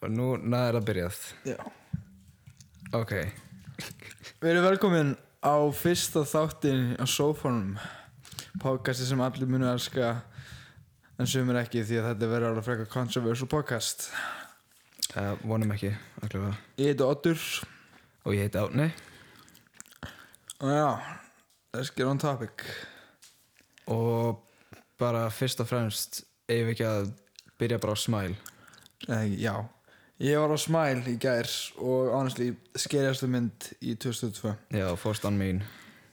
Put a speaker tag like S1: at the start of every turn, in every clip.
S1: Og núna er það byrjað
S2: Já.
S1: Ok
S2: Við erum velkomin á fyrsta þáttin á sófanum Podcasti sem allir munu elska En sumir ekki því að þetta verður alveg frekar controversial podcast
S1: Það vonum ekki allavega.
S2: Ég heiti Oddur
S1: Og ég heiti Árni
S2: Og já, let's get on topic
S1: Og bara fyrst og fremst eigum við ekki að byrja bara á smæl
S2: Nei, Eh, já Ég var á Smile í gær og honestly skeriastu mynd í 2002
S1: Já, fórstan mín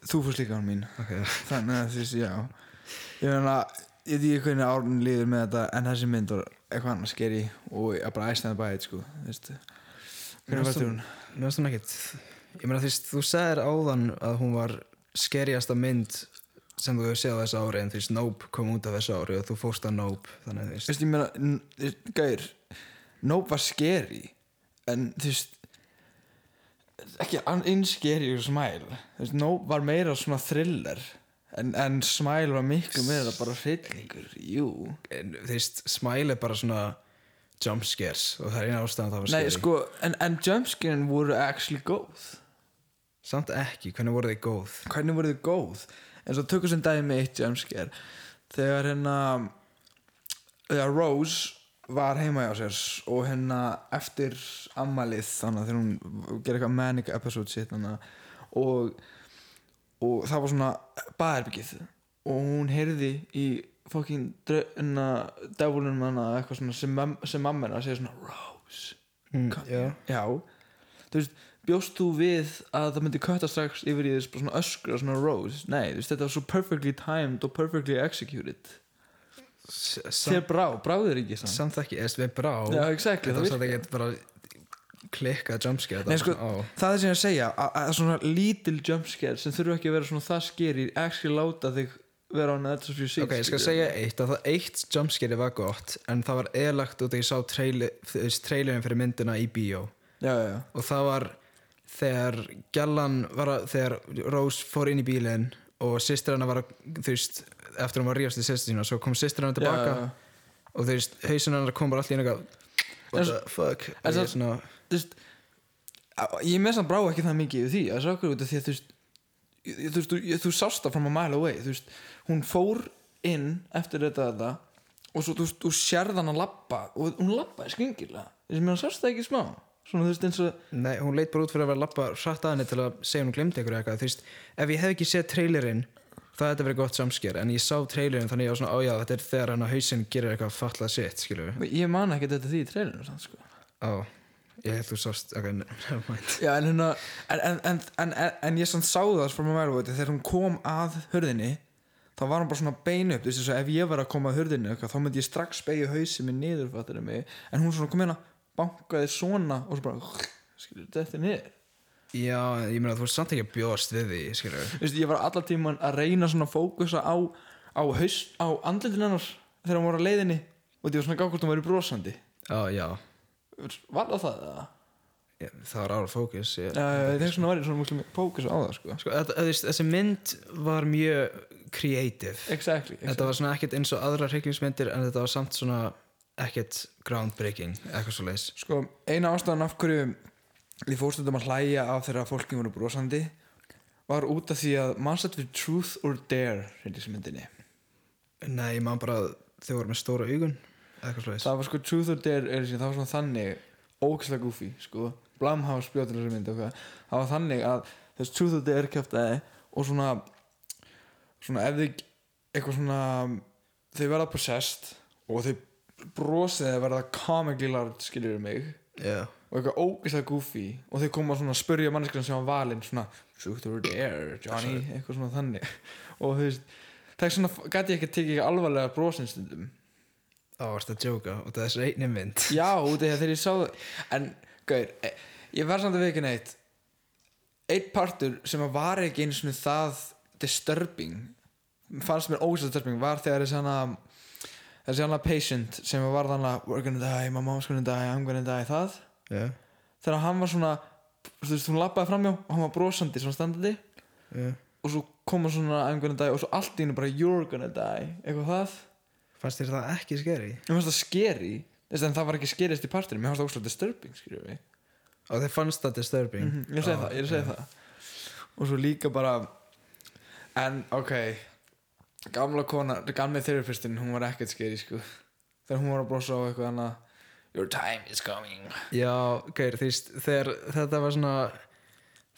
S2: Þú fórst líka án mín
S1: Ok
S2: Þannig að því, já Ég meina, ég veit ekki hvernig árun líður með þetta En þessi mynd var eitthvað annars skeri Og ég bara æstnaði bæðið, sko veistu.
S1: Mér
S2: Hvernig
S1: finnst
S2: varst
S1: hún-
S2: hún?
S1: Mér finnst hún ekkit Ég meina því þú segir áðan að hún var skeriasta mynd sem þú hefur séð á þessu ári en því Snope kom út af þessu ári og þú fórst að Nope þannig að þú veist
S2: Veistu, ég meina, n- ég- gær Nope var skeri En, þú veist Ekki an- eins skeri og Smile Þú veist, Nope var meira svona thriller En, en Smile var miklu meira bara hryllingur Jú
S1: en þú veist, smæl er bara svona jumpscares og það er eina ástæðan það var
S2: Nei,
S1: scary.
S2: sko, en, en jumpscarin voru actually góð
S1: samt ekki, hvernig voru þið góð
S2: hvernig voru þið góð en svo tökum sem dæmi eitt jumpscare þegar hérna þegar Rose var heima hjá sér og hérna eftir ammalið þannig að þegar hún gerir eitthvað manic episode sitt þannig að og, og það var svona baðherbyggið og hún heyrði í fokkin devulunum hana eitthvað svona sem, mam- sem mamma hennar segir svona Rose
S1: Mm,
S2: Ka-
S1: já.
S2: já þú veist, bjóst þú við að það myndi kötta strax yfir í þess bara svona öskra svona rose, nei, þú veist, þetta var svo perfectly timed og perfectly executed
S1: S-
S2: þér
S1: samt,
S2: brá, bráðir ekki samt
S1: samt ekki, eða við brá
S2: Já,
S1: það
S2: exactly, það
S1: var samt ekki bara klikkað jumpscare það
S2: Nei,
S1: var
S2: sko,
S1: svona, á.
S2: það er sem ég að segja að, að svona lítil jumpscare sem þurfa ekki að vera svona það skeri actually láta þig vera á Netflix fyrir sig
S1: ok, ég skal segja eitt að það eitt jumpscare var gott en það var eðlagt út að ég sá trailer, trailerin fyrir myndina í bíó
S2: já, já, já,
S1: og það var þegar Gjallan var að, þegar Rose fór inn í bílinn og sýstir hana var að, þú veist eftir hún var að rífast í sýstir sína svo kom sýstir hana tilbaka
S2: Já, já,
S1: og þú veist, hausin hana kom bara allir inn eitthvað
S2: En
S1: what
S2: s-
S1: the fuck
S2: en
S1: og ég
S2: s-
S1: svona,
S2: þú veist á- ég með samt brá ekki það mikið yfir því að það er okkur út af því að þú veist ég- ég- þú, veist, þú, ég- þú sást það from a mile away þú veist, hún fór inn eftir þetta þetta og svo þú, veist, þú sérð hann að labba og hún labbaði skringilega þessi mér hann sást það ekki smá svona þú veist eins og
S1: nei, hún leit bara út fyrir að vera að lappa hratt að henni til að segja hún glemdi ykkur eitthvað þú veist, ef ég hef ekki séð trailerinn það hefði verið gott samsker, en ég sá trailerinn þannig ég var svona, á já, þetta er þegar hana hausin gerir eitthvað fallað sitt, skilur við
S2: ég man ekki þetta því í treilinu sann sko
S1: á, ég held þú sást, ok, nevermind
S2: Já, en, hérna, en, en, en, en, en, en ég sann sá það from a mile away þegar hún kom að hurðinni þá var hún bara svona beinu upp þú veist, eins og ef ég var að koma að hurðinni eitthvað, þá myndi ég strax beigja hausið minn niður fattari mig en hún svona kom hérna, bankaði svona og svo bara, skilur, þetta er niður
S1: já, ég meina, þú er samt ekki að bjóðast við því, skilur
S2: Þú veist, ég var allar tíman að reyna svona að fókusa á, á haus, á andlitin hennar þegar hún var á leiðinni og því var svona gákvort hún væri brosandi
S1: Já, já,
S2: var það það eða?
S1: Ég- það var ára fókus ég...
S2: Já, ég þegar svona var ég svona múlum fókusa á það sko.
S1: sko, þetta- þú veist, Þessi mynd var mjög creative
S2: exactly, exactly.
S1: Þetta var svona ekkert eins og aðra hrygglingsmyndir en þetta var samt svona ekkert groundbreaking, eitthvað svo leis
S2: Sko, eina ástæðan af hverju ég fórstundum að hlæja af þegar fólki voru brosandi var út af því að mannstætt við Truth or Dare hérna í myndinni.
S1: Nei, ég man bara að þau voru með stóra augun eitthvað svo leis
S2: Það var sko Truth or Dare er það var svona þannig ógislega goofy, sko Blumhouse bjóðin þessari myndi og hvað það var þannig að þess Truth or Dare kæftaði og svona svona ef þau eitthvað svona þau verða possessed og þau brosið að verða comically large skiljur mig
S1: Já,
S2: og eitthvað ógeðslega goofy og þau koma svona að spurja manneskina sem var valinn svona, shoot over there Johnny eitthvað svona þannig og þú veist, það er svona, gæti ég ekki að tekið ekki alvarlega brosin stundum
S1: þá varst að djóka og það er einni mynd
S2: já, út af því að þegar ég sá það en, gaur, e- ég var samt að veikin eitt eitt partur sem að var ekki einu svona það disturbing fannst mér ógeðslega disturbing var þegar þessi hana þessi hana patient sem var þannig we're gonna die, my mom's gonna die, I'm gonna die það
S1: Já,
S2: þegar hann var svona þú veist, hún lappaði framjá og hann var brosandi svona standandi
S1: já
S2: og svo koma svona I'm gonna die og svo allt í hennu bara you're gonna die eitthvað það
S1: Fannst þér það ekki skeri?
S2: ég finnst það skeri Þess, en það var ekki skerist í partinu mér fannst það óslega disturbing skilur við
S1: og þeir fannst það disturbing
S2: ég segi það, ég segi það og svo líka bara en ok gamla kona, gamli þyrfirfyrstinn hún var ekkert skeri sko þegar hún var að brosa á eitthvað annað your time is coming
S1: Já, gær, þú veist, þegar þetta var svona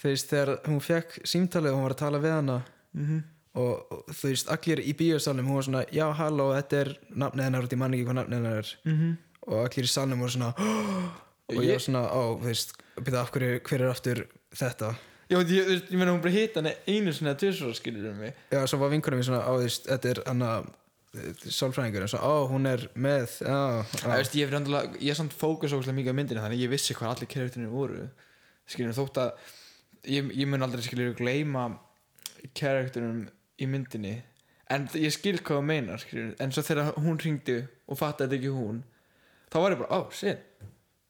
S1: þú veist, þegar hún fekk símtalið og hún var að tala við hana -hmm. og, og þú veist, allir í bíósalnum hún var svona, já, halló, þetta er nafnið hennar út í manningi hvað nafnið hennar er -hmm. og allir í salnum voru svona og ég var svona, ó, þú veist, byrja af hverju hver er aftur þetta
S2: já, ég, ég, ég meina hún bara hitt hann einu sinni að tvisvara skilur um mig
S1: Já, svo var vinkunum mér svona, á, þú veist, þetta er hana sálfræðingur, og svo, ó, hún er með, já,
S2: Æ,
S1: já
S2: veist, ég, hef reyndar- ég samt fókus ógustlega mikið á myndinu þannig að ég vissi hvað allir karakterinir voru skilur þótt að ég, ég mun aldrei skilur gleyma karakterinum í myndinni en ég skil hvað þú meinar skilur en svo þegar hún ringdi og fattaði þetta ekki hún þá var ég bara, oh shit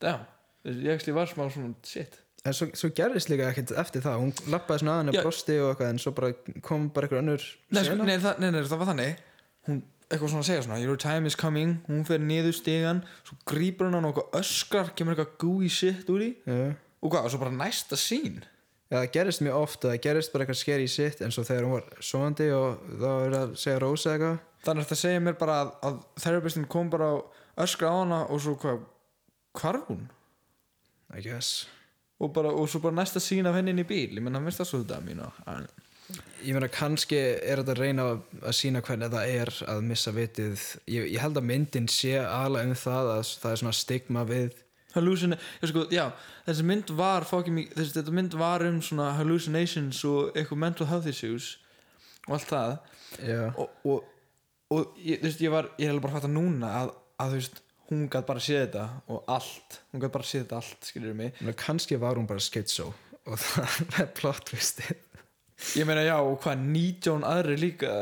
S2: damn, Þú veist, ég actually var smá svona shit
S1: en svo, svo gerðist líka ekkert eftir það hún lappaði svona að henni
S2: Já.
S1: brosti og eitthvað en svo bara kom bara einhver önnur
S2: nei, sko,
S1: sena.
S2: nei, það, nei, nei, það var þannig hún eitthvað svona að segja svona your time is coming, hún fer niður stegan svo grýpur hún á nokkuð öskrar kemur eitthvað gooey shit úr í
S1: Já.
S2: og hvað, og svo bara næsta sín
S1: Já, það gerist mjög oft að það gerist bara eitthvað skeri í sitt en svo þegar hún var svoandi og þá er að segja Rósa eitthvað
S2: þannig að það segja mér bara að, að therapistinn kom bara og öskra á hana og svo hvað, hvarf hún
S1: I guess
S2: og, bara, og svo bara næsta sín af henni inn í bíl ég menna, minnst það svo þetta að mína En-
S1: Ég meina kannski er þetta að reyna að, að sína hvernig það er að missa vitið ég, ég held að myndin sé aðla um það að það er svona stigma við
S2: hallucina, ég sko, já, þessi mynd var fókið mikið, þessi þetta mynd var um svona hallucinations og eitthvað mental health issues og allt það
S1: Já,
S2: og, og, og ég, þú veist, ég var ég er alveg bara að fatta núna að, að þú veist hún gætt bara séð þetta og allt hún gætt bara séð þetta allt, skilur mig
S1: Ég meina, kannski var hún bara skitsó og það er plot twistið
S2: ég meina já, og hvað, 19 aðri líka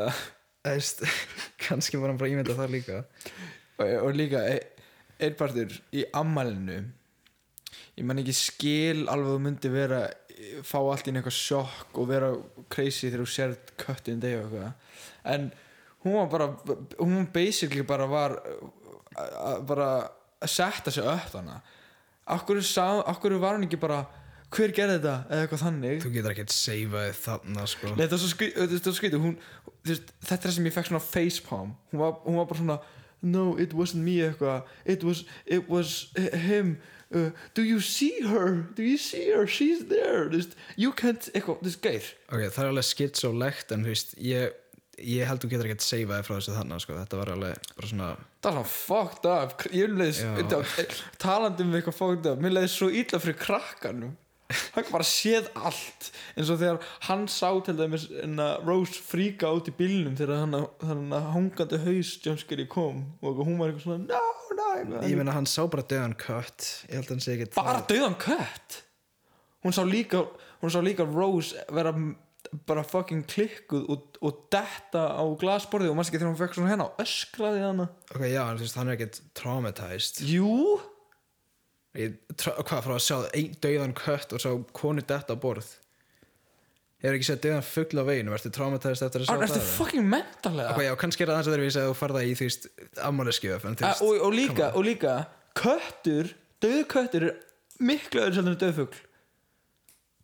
S1: Það veist, kannski var hún bara ímynda það líka
S2: og, og líka einpartur í ammælinu ég man ekki skil alveg þú myndi vera fá allt inn eitthvað sjokk og vera crazy þegar þú sérð köttin degi og eitthvað en hún var bara hún basically bara var að- að- bara að setja sig upp þarna okkur, sá, okkur var hún ekki bara hver gerði þetta eða eitthvað þannig
S1: Þú getur ekkert saveið þarna sko
S2: Nei, þetta var svo skri- þetta var svo skrítið hún, þú veist, Þetta er það sem ég fekk svona facepalm hún var, hún var bara svona No, it wasn't me eitthvað It was, it was h- him uh, Do you see her? Do you see her? She's there Þú veist, You can't eitthvað, þú veist, geir
S1: Ok, það er alveg skitsólegt en þú veist, ég, ég held þú getur ekkert seifaði frá þessu þannig sko. þetta var alveg bara svona
S2: Það var svona fucked up Kr- Ég leðis,
S1: Já.
S2: talandi um eitthvað fucked up Mér leðis svo illa fyrir krakkanum Hann gat bara séð allt eins og þegar hann sá til dæmis en að Rose fríka út í bílnum þegar hann, hann hangandi haus Jönskeri kom og hún var eitthvað svona no, no,
S1: ég
S2: eitthvað.
S1: meina hann sá bara döðan kött ég held hann sé ekkert
S2: bara döðan kött hún sá líka hún sá líka Rose vera m- bara fucking klikkuð og, og detta á glasborðið og maður ekki þegar hún fekk svona henn á öskraði hana
S1: ok, já, en þú veist, hann er ekkert traumatized
S2: jú
S1: ég, tra hvað, frá að sjá ein döðan kött og sá konu detta á borð ég er ekki séð döðan fugl á veginu ertu traumatized eftir að sjá
S2: Er
S1: það
S2: þetta fucking mentalega
S1: ok, já, kannski er það aðeins öðruvísi að þú farða í þú veist, ammáleskjöf en þú
S2: og,
S1: veist,
S2: Eh, og, líka, og líka Köttur, döðu köttur er Miklu öðru seldur en döðfugl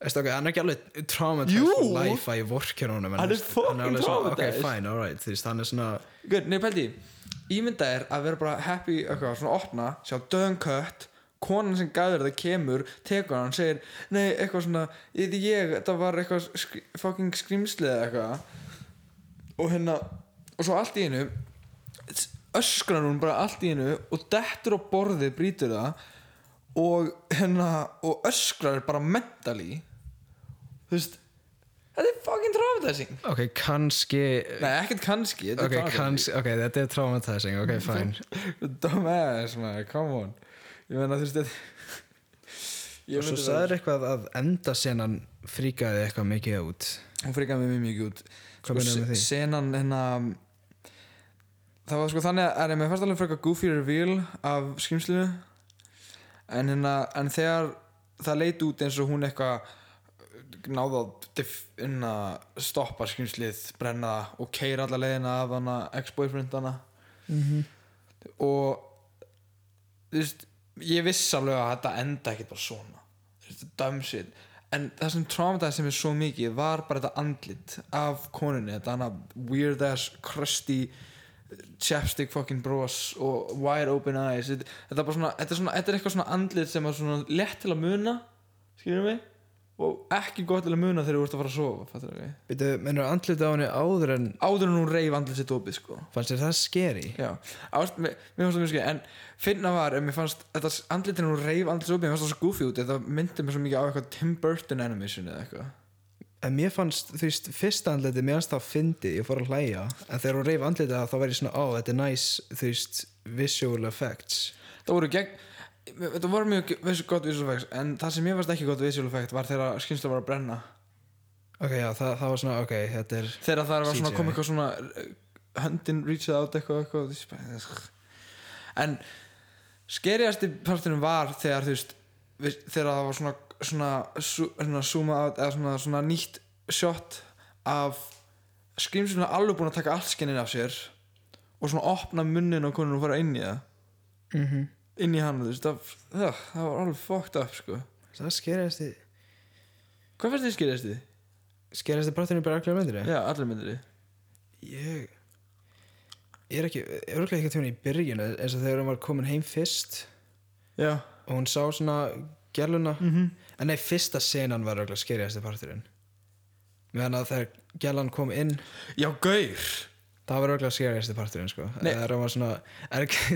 S1: veist, ok, hann er ekki alveg traumatized
S2: Jú!
S1: for life að ég vorkir honum en
S2: Hann
S1: þú
S2: er
S1: veist,
S2: fucking
S1: alveg svona, ok,
S2: traumatized.
S1: fine, alright, þú veist, hann er svona
S2: Gör, Nei, pældi, ímynda er að vera bara happy eitthvað, Svona opna, sjá döðan kött Konan sem gæður það kemur Tekur hann, segir, nei, eitthvað svona Ég, ég það var eitthvað skri, Fucking skrýmslið eða eitthvað Og hérna Og svo allt í einu Öskrar hún bara allt í einu Og dettur á borðið, brýtur það og hérna og öskrar bara mentally þú veist þetta er fucking traumatizing
S1: ok, kannski
S2: nei ekkert kannski þetta
S1: ok,
S2: er
S1: kannski, ok, þetta er traumatizing ok, fine
S2: kannski dumbass maður come on ég meina þú veist þetta ég
S1: og svo
S2: myndi vera-
S1: sagður eitthvað að enda senan fríkaði eitthvað mikið út
S2: hún frikaði mig mjög mikið út Sko,
S1: Hvað meinarðu með því?
S2: senan hérna það var sko þannig að er ég með fyrst alveg frekar goofy reveal af skrimslinu en hérna en þegar það leit út eins og hún eitthvað náða inn að hérna, stoppa skrimslið brenna það og
S1: Mhm.
S2: keira alla leiðina af hana ex-boyfriend hana
S1: mm -hmm.
S2: og þú veist, ég viss alveg að þetta enda ekkert bara svona Þú veist, dömsinn en það sem traumatæði sem er svo mikið var bara þetta andlit af konunni þetta hana weird ass, crusty chapstick fucking bros og wide open eyes þetta þetta er, bara svona, þetta er, svona, þetta er eitthvað svona andlit sem er svona lett til að muna skiljum við og ekki gott til að muna þegar þú ert að fara að sofa fattar við
S1: Veitu, mennur andlita á henni áður en
S2: áður en hún reyf andlið sitt opið sko
S1: fannst þér það skeri?
S2: Já, ást, mér, mér fannst það mjög skil en finna var, en mér fannst þetta andlitinu hún reyf andlitinu svo opið, mér fannst það svo goofy út þetta myndi mér svo mikið á eitthvað Tim Burton animation eða eitthvað
S1: En mér fannst, þú veist, fyrsta andliti mér fannst það fyndi, ég fór að hlæja en þegar hún reyf andlita þá var ég svona, ó, þetta er nice þú veist, visual effects
S2: það voru gegn þetta voru mjög vissu gott visual effects en það sem mér fannst ekki gott visual effect var þegar skynsla var að brenna
S1: Ok, já, það, það var svona, ok, þetta er
S2: þegar það var svona
S1: CGI.
S2: að koma eitthvað svona eh, höndin reachað át eitthvað, eitthvað þú veist, bara- eh, en skeriðasti partinum var þegar þú veist við- þegar það var svona svona, sú- svona, svona, eða svona, svona nýtt shot af skrimsuna alveg búin að taka allt skinnin af sér og svona opna munnin á konun og fara inn í það
S1: mm -hmm.
S2: inn í hann, þú veist, það, það, það var alveg fucked up, sko
S1: Það skeriðasti
S2: hvað fannst þið skeriðasti?
S1: skeriðasti parturinn bara allir myndir
S2: Já, allir myndir þið
S1: Ég Ég er ekki, ég er ekki til hún í byrjun eins og þegar hún var komin heim fyrst
S2: Já,
S1: og hún sá svona gæluna
S2: mm -hmm.
S1: en nei, fyrsta senan var auðvitað skeriðasti parturinn meðan að þegar gælan kom inn
S2: já, gaur
S1: það var auðvitað skeriðasti parturinn sko
S2: Nei.
S1: þegar hún var svona er ekki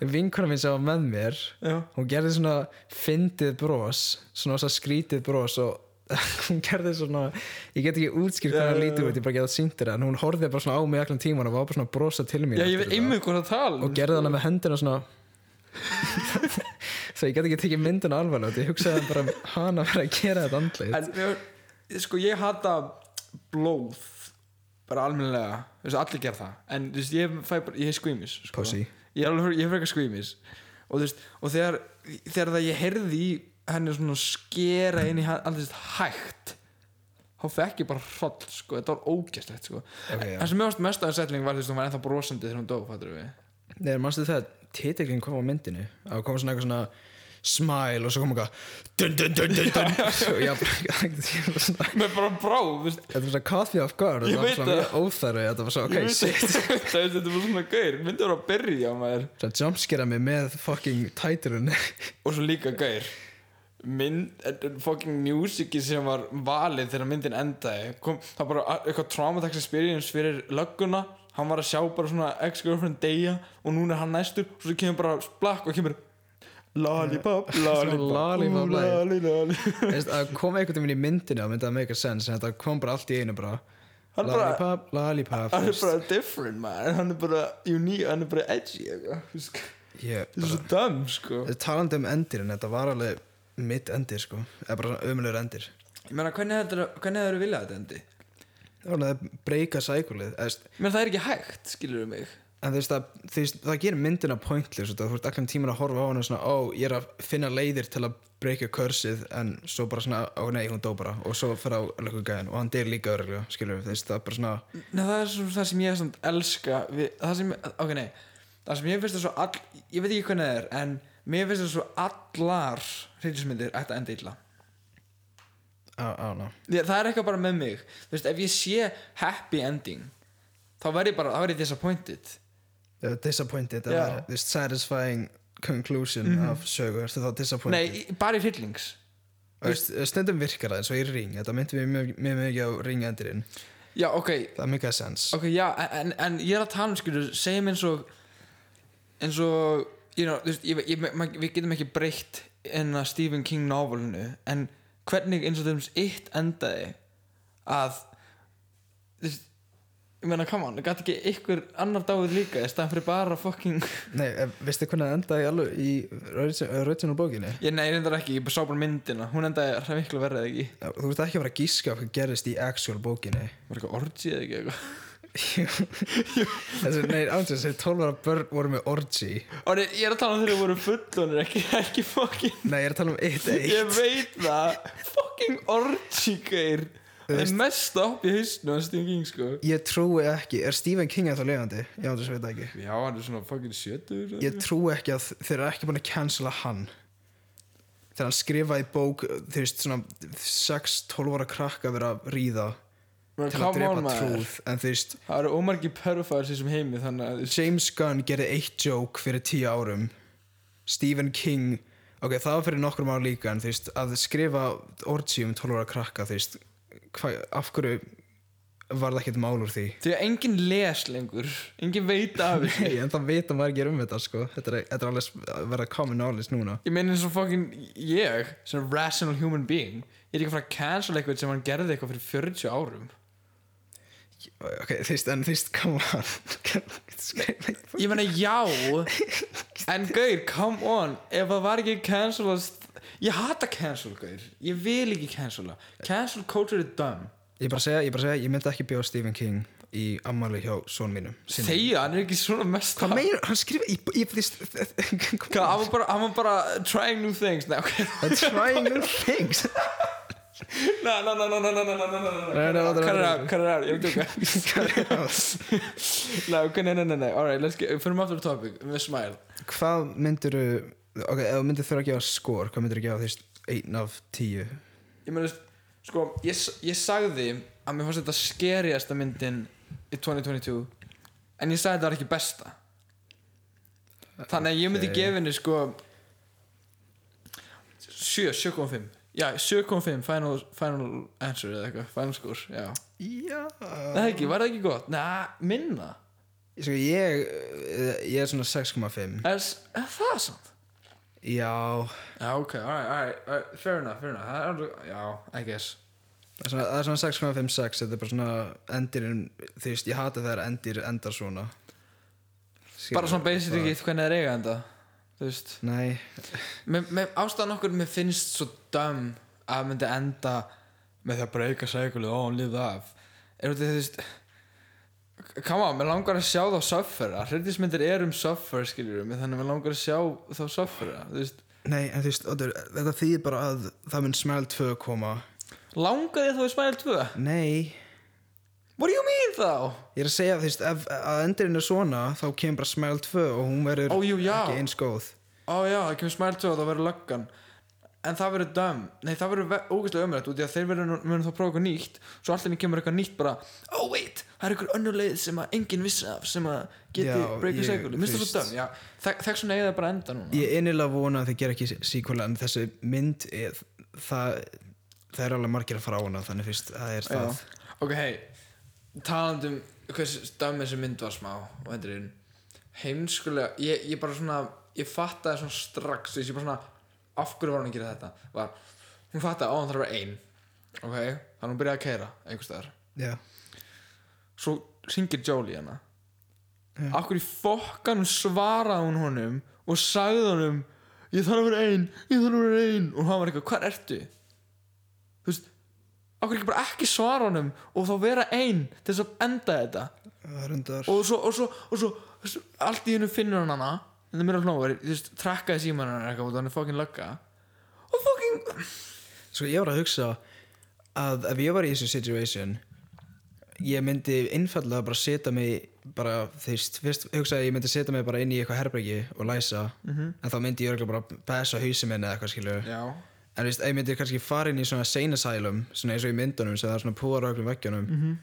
S1: vinkona mín sem var með mér
S2: Já,
S1: hún gerði svona fyndið bros svona svona skrítið bros og hún gerði svona ég get ekki útskýrt hvernig
S2: Já, já,
S1: hún
S2: já.
S1: lítið út ég bara geta sýndir það en hún horfði bara svona á mig allan tíman og var bara svona að brosa til mín
S2: já ég
S1: eftir
S2: veit
S1: þetta.
S2: einmitt hvað það tala
S1: og gerði hana með hendina svona svo ég get ekki tekið myndina alvarlega því ég hugsaði bara um hana að vera að gera þetta andlið
S2: En mér, sko ég hata blóð bara almennilega, þú veist allir gera það en þú veist ég fæ bara, ég er skvímis sko.
S1: Pussy.
S2: Ég er alveg, ég er frekar skvímis og þú veist, og þegar þegar það ég heyrði í henni svona skera inn í hann, allir þess hægt þá fekk ég bara hroll sko, þetta var ógæstlegt sko
S1: Ok, já.
S2: en sem mjög mest aðeins setling var þú veist, hún var ennþá brosandi þegar hún dó, fattur við
S1: Nei, mannstu það titiklinn kom á myndinu að kom svona eitthvað svona smile og svo kom eitthvað dun dun dun dun dun svo ég bara ég bara svona
S2: með bara brá, þú veist
S1: Þetta var svona coffee off guard
S2: Ég
S1: Þetta var
S2: veit
S1: svona
S2: það.
S1: mjög óþarfi Þetta var svona
S2: ég
S1: ok,
S2: veit
S1: shit
S2: ekki, þú veist, þetta var svona gaur myndi vera að byrja maður
S1: Það jumpskera mig með fucking tætirun
S2: og svo líka gaur mynd, eh, fucking musiki sem var valið þegar myndin endaði kom, það var bara eitthvað traumatic experience fyrir lögguna, hann var að sjá bara svona ex-girlfriend deyja og núna er hann næstur og svo kemur bara splakk og kemur lollipop, lollipop,
S1: lollipop
S2: ú,
S1: lagið.
S2: lolli, lolli.
S1: Það kom einhvern veginn í myndinu og myndi að make a sense en þetta kom bara allt í einu bara
S2: Hann bara-
S1: Lollipop, lollipop
S2: hann er
S1: fyrst.
S2: bara different man hann er bara unique, hann er bara edgy eitthvað, þú veist,
S1: Ég
S2: þetta er
S1: bara
S2: svo dum sko
S1: Þetta talandi um endir en þetta var alveg mitt endir sko eða bara svona ömulegur endir
S2: ég meina hvernig það eru viljað þetta endi
S1: Það var alveg að breyka sækulið eða veist,
S2: menn það er ekki hægt, skilur mig
S1: en þú veist að þú veist, það gerir myndina pointless og þú ert allan tíman að horfa á hana og svona, ó, ég er að finna leiðir til að breyka körsið en svo bara svona, ó nei, hún dó bara og svo fer á lökum gæðin og hann deyr líka öruglega skilur við, þú veist, það er bara svona
S2: Nei, það er svo það sem ég samt elska við, það sem, ok, nei það sem ég finnst það svo all, ég veit ekki hvernig það er en mér finnst það svo allar hryllismyndir ætti að enda illa
S1: á, á, ná,
S2: Ég- það er eitthvað bara með mig, þú veist, ef ég sé happy ending, þá verð ég bara þá verð ég disappointed
S1: Þau eru disappointed
S2: Já. Mhm.
S1: eða þú veist, satisfying conclusion af sögu, ertu þá
S2: nei,
S1: disappointed
S2: í- bara í hryllings
S1: Þú veist, stundum virkar það eins og í ring þetta myndi mér mjög, mjög mikið á ring endirinn
S2: já, ok,
S1: það er mikið sens
S2: ok, já, en, en, en ég er að tala um, skilur, segjum eins og eins og you know, þú veist, ég, ég, ma, við getum ekki breytt en að Stephen King novelinu en hvernig eins og þeim eitt endaði að þú veist, ég meina, come on, gæti ekki ykkur annar dáið líka, í staðan fyrir bara fucking,
S1: nei, eh, veistu hvernig það endaði alveg í rauðsynum bókinni?
S2: ég nei, ég reyndar ekki ég bara sá bara myndina, hún endaði hræð miklu verið ekki
S1: Þú ert ekki að fara að gíska hvað gerist í actual bókinni
S2: var eitthvað orgi eða ekki eitthvað
S1: þessi, nei, ándjóðs, þessi 12 ára börn voru með orgy
S2: og nei, ég er að tala um þegar þeir voru fullonir ekki, ekki fucking
S1: Nei, ég er að tala um eitt eitt
S2: Ég veit það Fucking orgy, geir
S1: Þú Þú veist.
S2: mesta hopp í hausnum að Stephen King sko
S1: Ég trúi ekki, er Stephen King eða lefandi? Já, þess veit það ekki
S2: já hann er svona fucking sjötur
S1: Ég trúi ekki að þeir eru ekki búin að cancela hann Þegar hann skrifaði bók Þú veist, svona 6-12 ára krakka að vera að ríða
S2: Man,
S1: Til að
S2: come on,
S1: drepa
S2: maður.
S1: trúð En þú veist,
S2: það eru ómargi perfaðar sem heimi þannig að
S1: James Gunn gerði eitt joke fyrir 10 árum Stephen King Ok, það var fyrir nokkrum ára líka En þú veist, að skrifa orgi um 12 ára krakka Þú veist, hva, af hverju Var það ekkert mál úr því
S2: því að enginn les lengur enginn veit af þessu
S1: Nei, en það vita maður ekki um þetta sko Þetta er, þetta er alveg að verða common knowledge núna
S2: ég meina eins og fucking ég sem rational human being ég er ekki að fara að cancel eitthvað sem hann gerði eitthvað fyrir 40 árum
S1: Ok, þú veist, en þú veist, come on Skrifa ekki
S2: ég meina já en gaur, come on ef það var ekki cancelast ég hata cancel gaur, ég vil ekki cancela cancel culture er dumb
S1: Ég bara segja, ég bara segja, ég myndi ekki bjóða Stephen King í ammali hjá son mínum sinni.
S2: þegja, hann er ekki svona mest
S1: Hvað meina, hann skrifa ég, ég, þvist,
S2: Hvað, hann var bara, hann var bara trying new things Nei, ok
S1: Trying new things
S2: Na, na, na, na, na, na, na, na, na, na,
S1: Nei, nei,
S2: na
S1: láta
S2: Hvað er
S1: vera.
S2: það, hvað er það, ég er ekki okkar
S1: Hvað
S2: Nei, ok, nei, nei, nei, nei, alright, let's get Fyrir aftur á topic, með smile
S1: myndirðu Ok, ef þú myndir þurfa að gefa skor Hvað myndirðu gefa, þú veist, einn af tíu
S2: Ég meina, sko, ég, s- ég sagði að mér fannst þetta skeriasta myndin í 2022 en ég sagði þetta var ekki besta Þannig að ég myndi
S1: Ok.
S2: gefa henni sko 7, 7.5 Já, 7.5, final, final answer eða eitthvað, final score, já
S1: Já
S2: Það ekki, var það ekki gott? Næ, minna
S1: Sko, ég, eh, ég er svona 6,5
S2: Er, er það samt?
S1: Já,
S2: Já, ok, alright, alright, alright fair enough, fair enough Það er alveg- Já, I guess
S1: það er svona- það er svona 6,56 Þetta er bara svona endirinn Þú veist, ég hata þegar endir endar svona Skilur,
S2: Bara svona basic ekki hvernig það er eiga enda Þú veist
S1: Nei,
S2: með, með ástæðan okkur mér finnst svo döm að það myndi enda með því að breyka sækulu og hún lifði af er þetta þú veist come on, mér langar að sjá þá suffera hlutismyndir er um suffera skiljur mig þannig að mér langar að sjá þá suffera þú veist,
S1: nei, en þú veist, Oddur, þetta þýðir bara að það mun smæl 2 koma
S2: langar þið þá í Smile 2
S1: Nei,
S2: what do you mean þá?
S1: ég er að segja, þú veist, ef að endurinn er svona þá kemur bara smæl 2 og hún verður
S2: Ó, jú, já.
S1: ekki eins góð
S2: Ó já, það kemur Smile 2 og þá verður löggan en það verður döm, nei það verður ógæslega umrætt út í að þeir verður munu þá prófa eitthvað nýtt svo allir kemur eitthvað nýtt bara oh wait, það er eitthvað önnur leið sem að enginn vissi af sem að geti
S1: Já,
S2: breaker
S1: ég-
S2: segul minnst það
S1: fyrst.
S2: svo döm, já, Þeg- þess vegna eigið það bara að enda núna
S1: Ég innilega vona að þið ger ekki síkula en þessi mynd er, það, það er alveg margir að fara á hana þannig fyrst, það er það
S2: já. ok, hei, talandum hvers döm þessi mynd var smá og þetta er heimskulega ég, ég bara svona, ég fattaði svona strax þú veist, ég bara svona, af hverju var hún að gera þetta var, hún fattaði, ó hann þarf að vera ein ok, þannig hún byrjaði að keira einhvers staðar
S1: Já,
S2: svo ringir Jolie hana Akkur í fokkanum svaraði hún honum og sagði honum ég þarf að vera ein, ég þarf að vera ein og hann var eitthvað, hvað ertu? Þú veist, akkur ekki bara ekki svara honum og þá vera ein til þess að enda þetta
S1: það er undar
S2: og svo, og svo, og svo, svo allt í hennu finnur hann hana þetta er mér að hlóa, þú veist, trakkaði síman hann eitthvað og hann er fokkin lögga og fokkin,
S1: Sko ég var að hugsa að ef ég var í þessu situation ég myndi innfallega bara setja mig bara þeist, fyrst hugsaði að ég myndi setja mig bara inn í eitthvað herbergi og læsa -hmm. en þá myndi ég örgulega bara bæsa hausi minni eða eitthvað skilju
S2: já,
S1: en veist, ef ég myndi kannski fara inn í svona seinasælum svona eins og í myndunum sem það er svona púar á öllum veggjónum -hmm.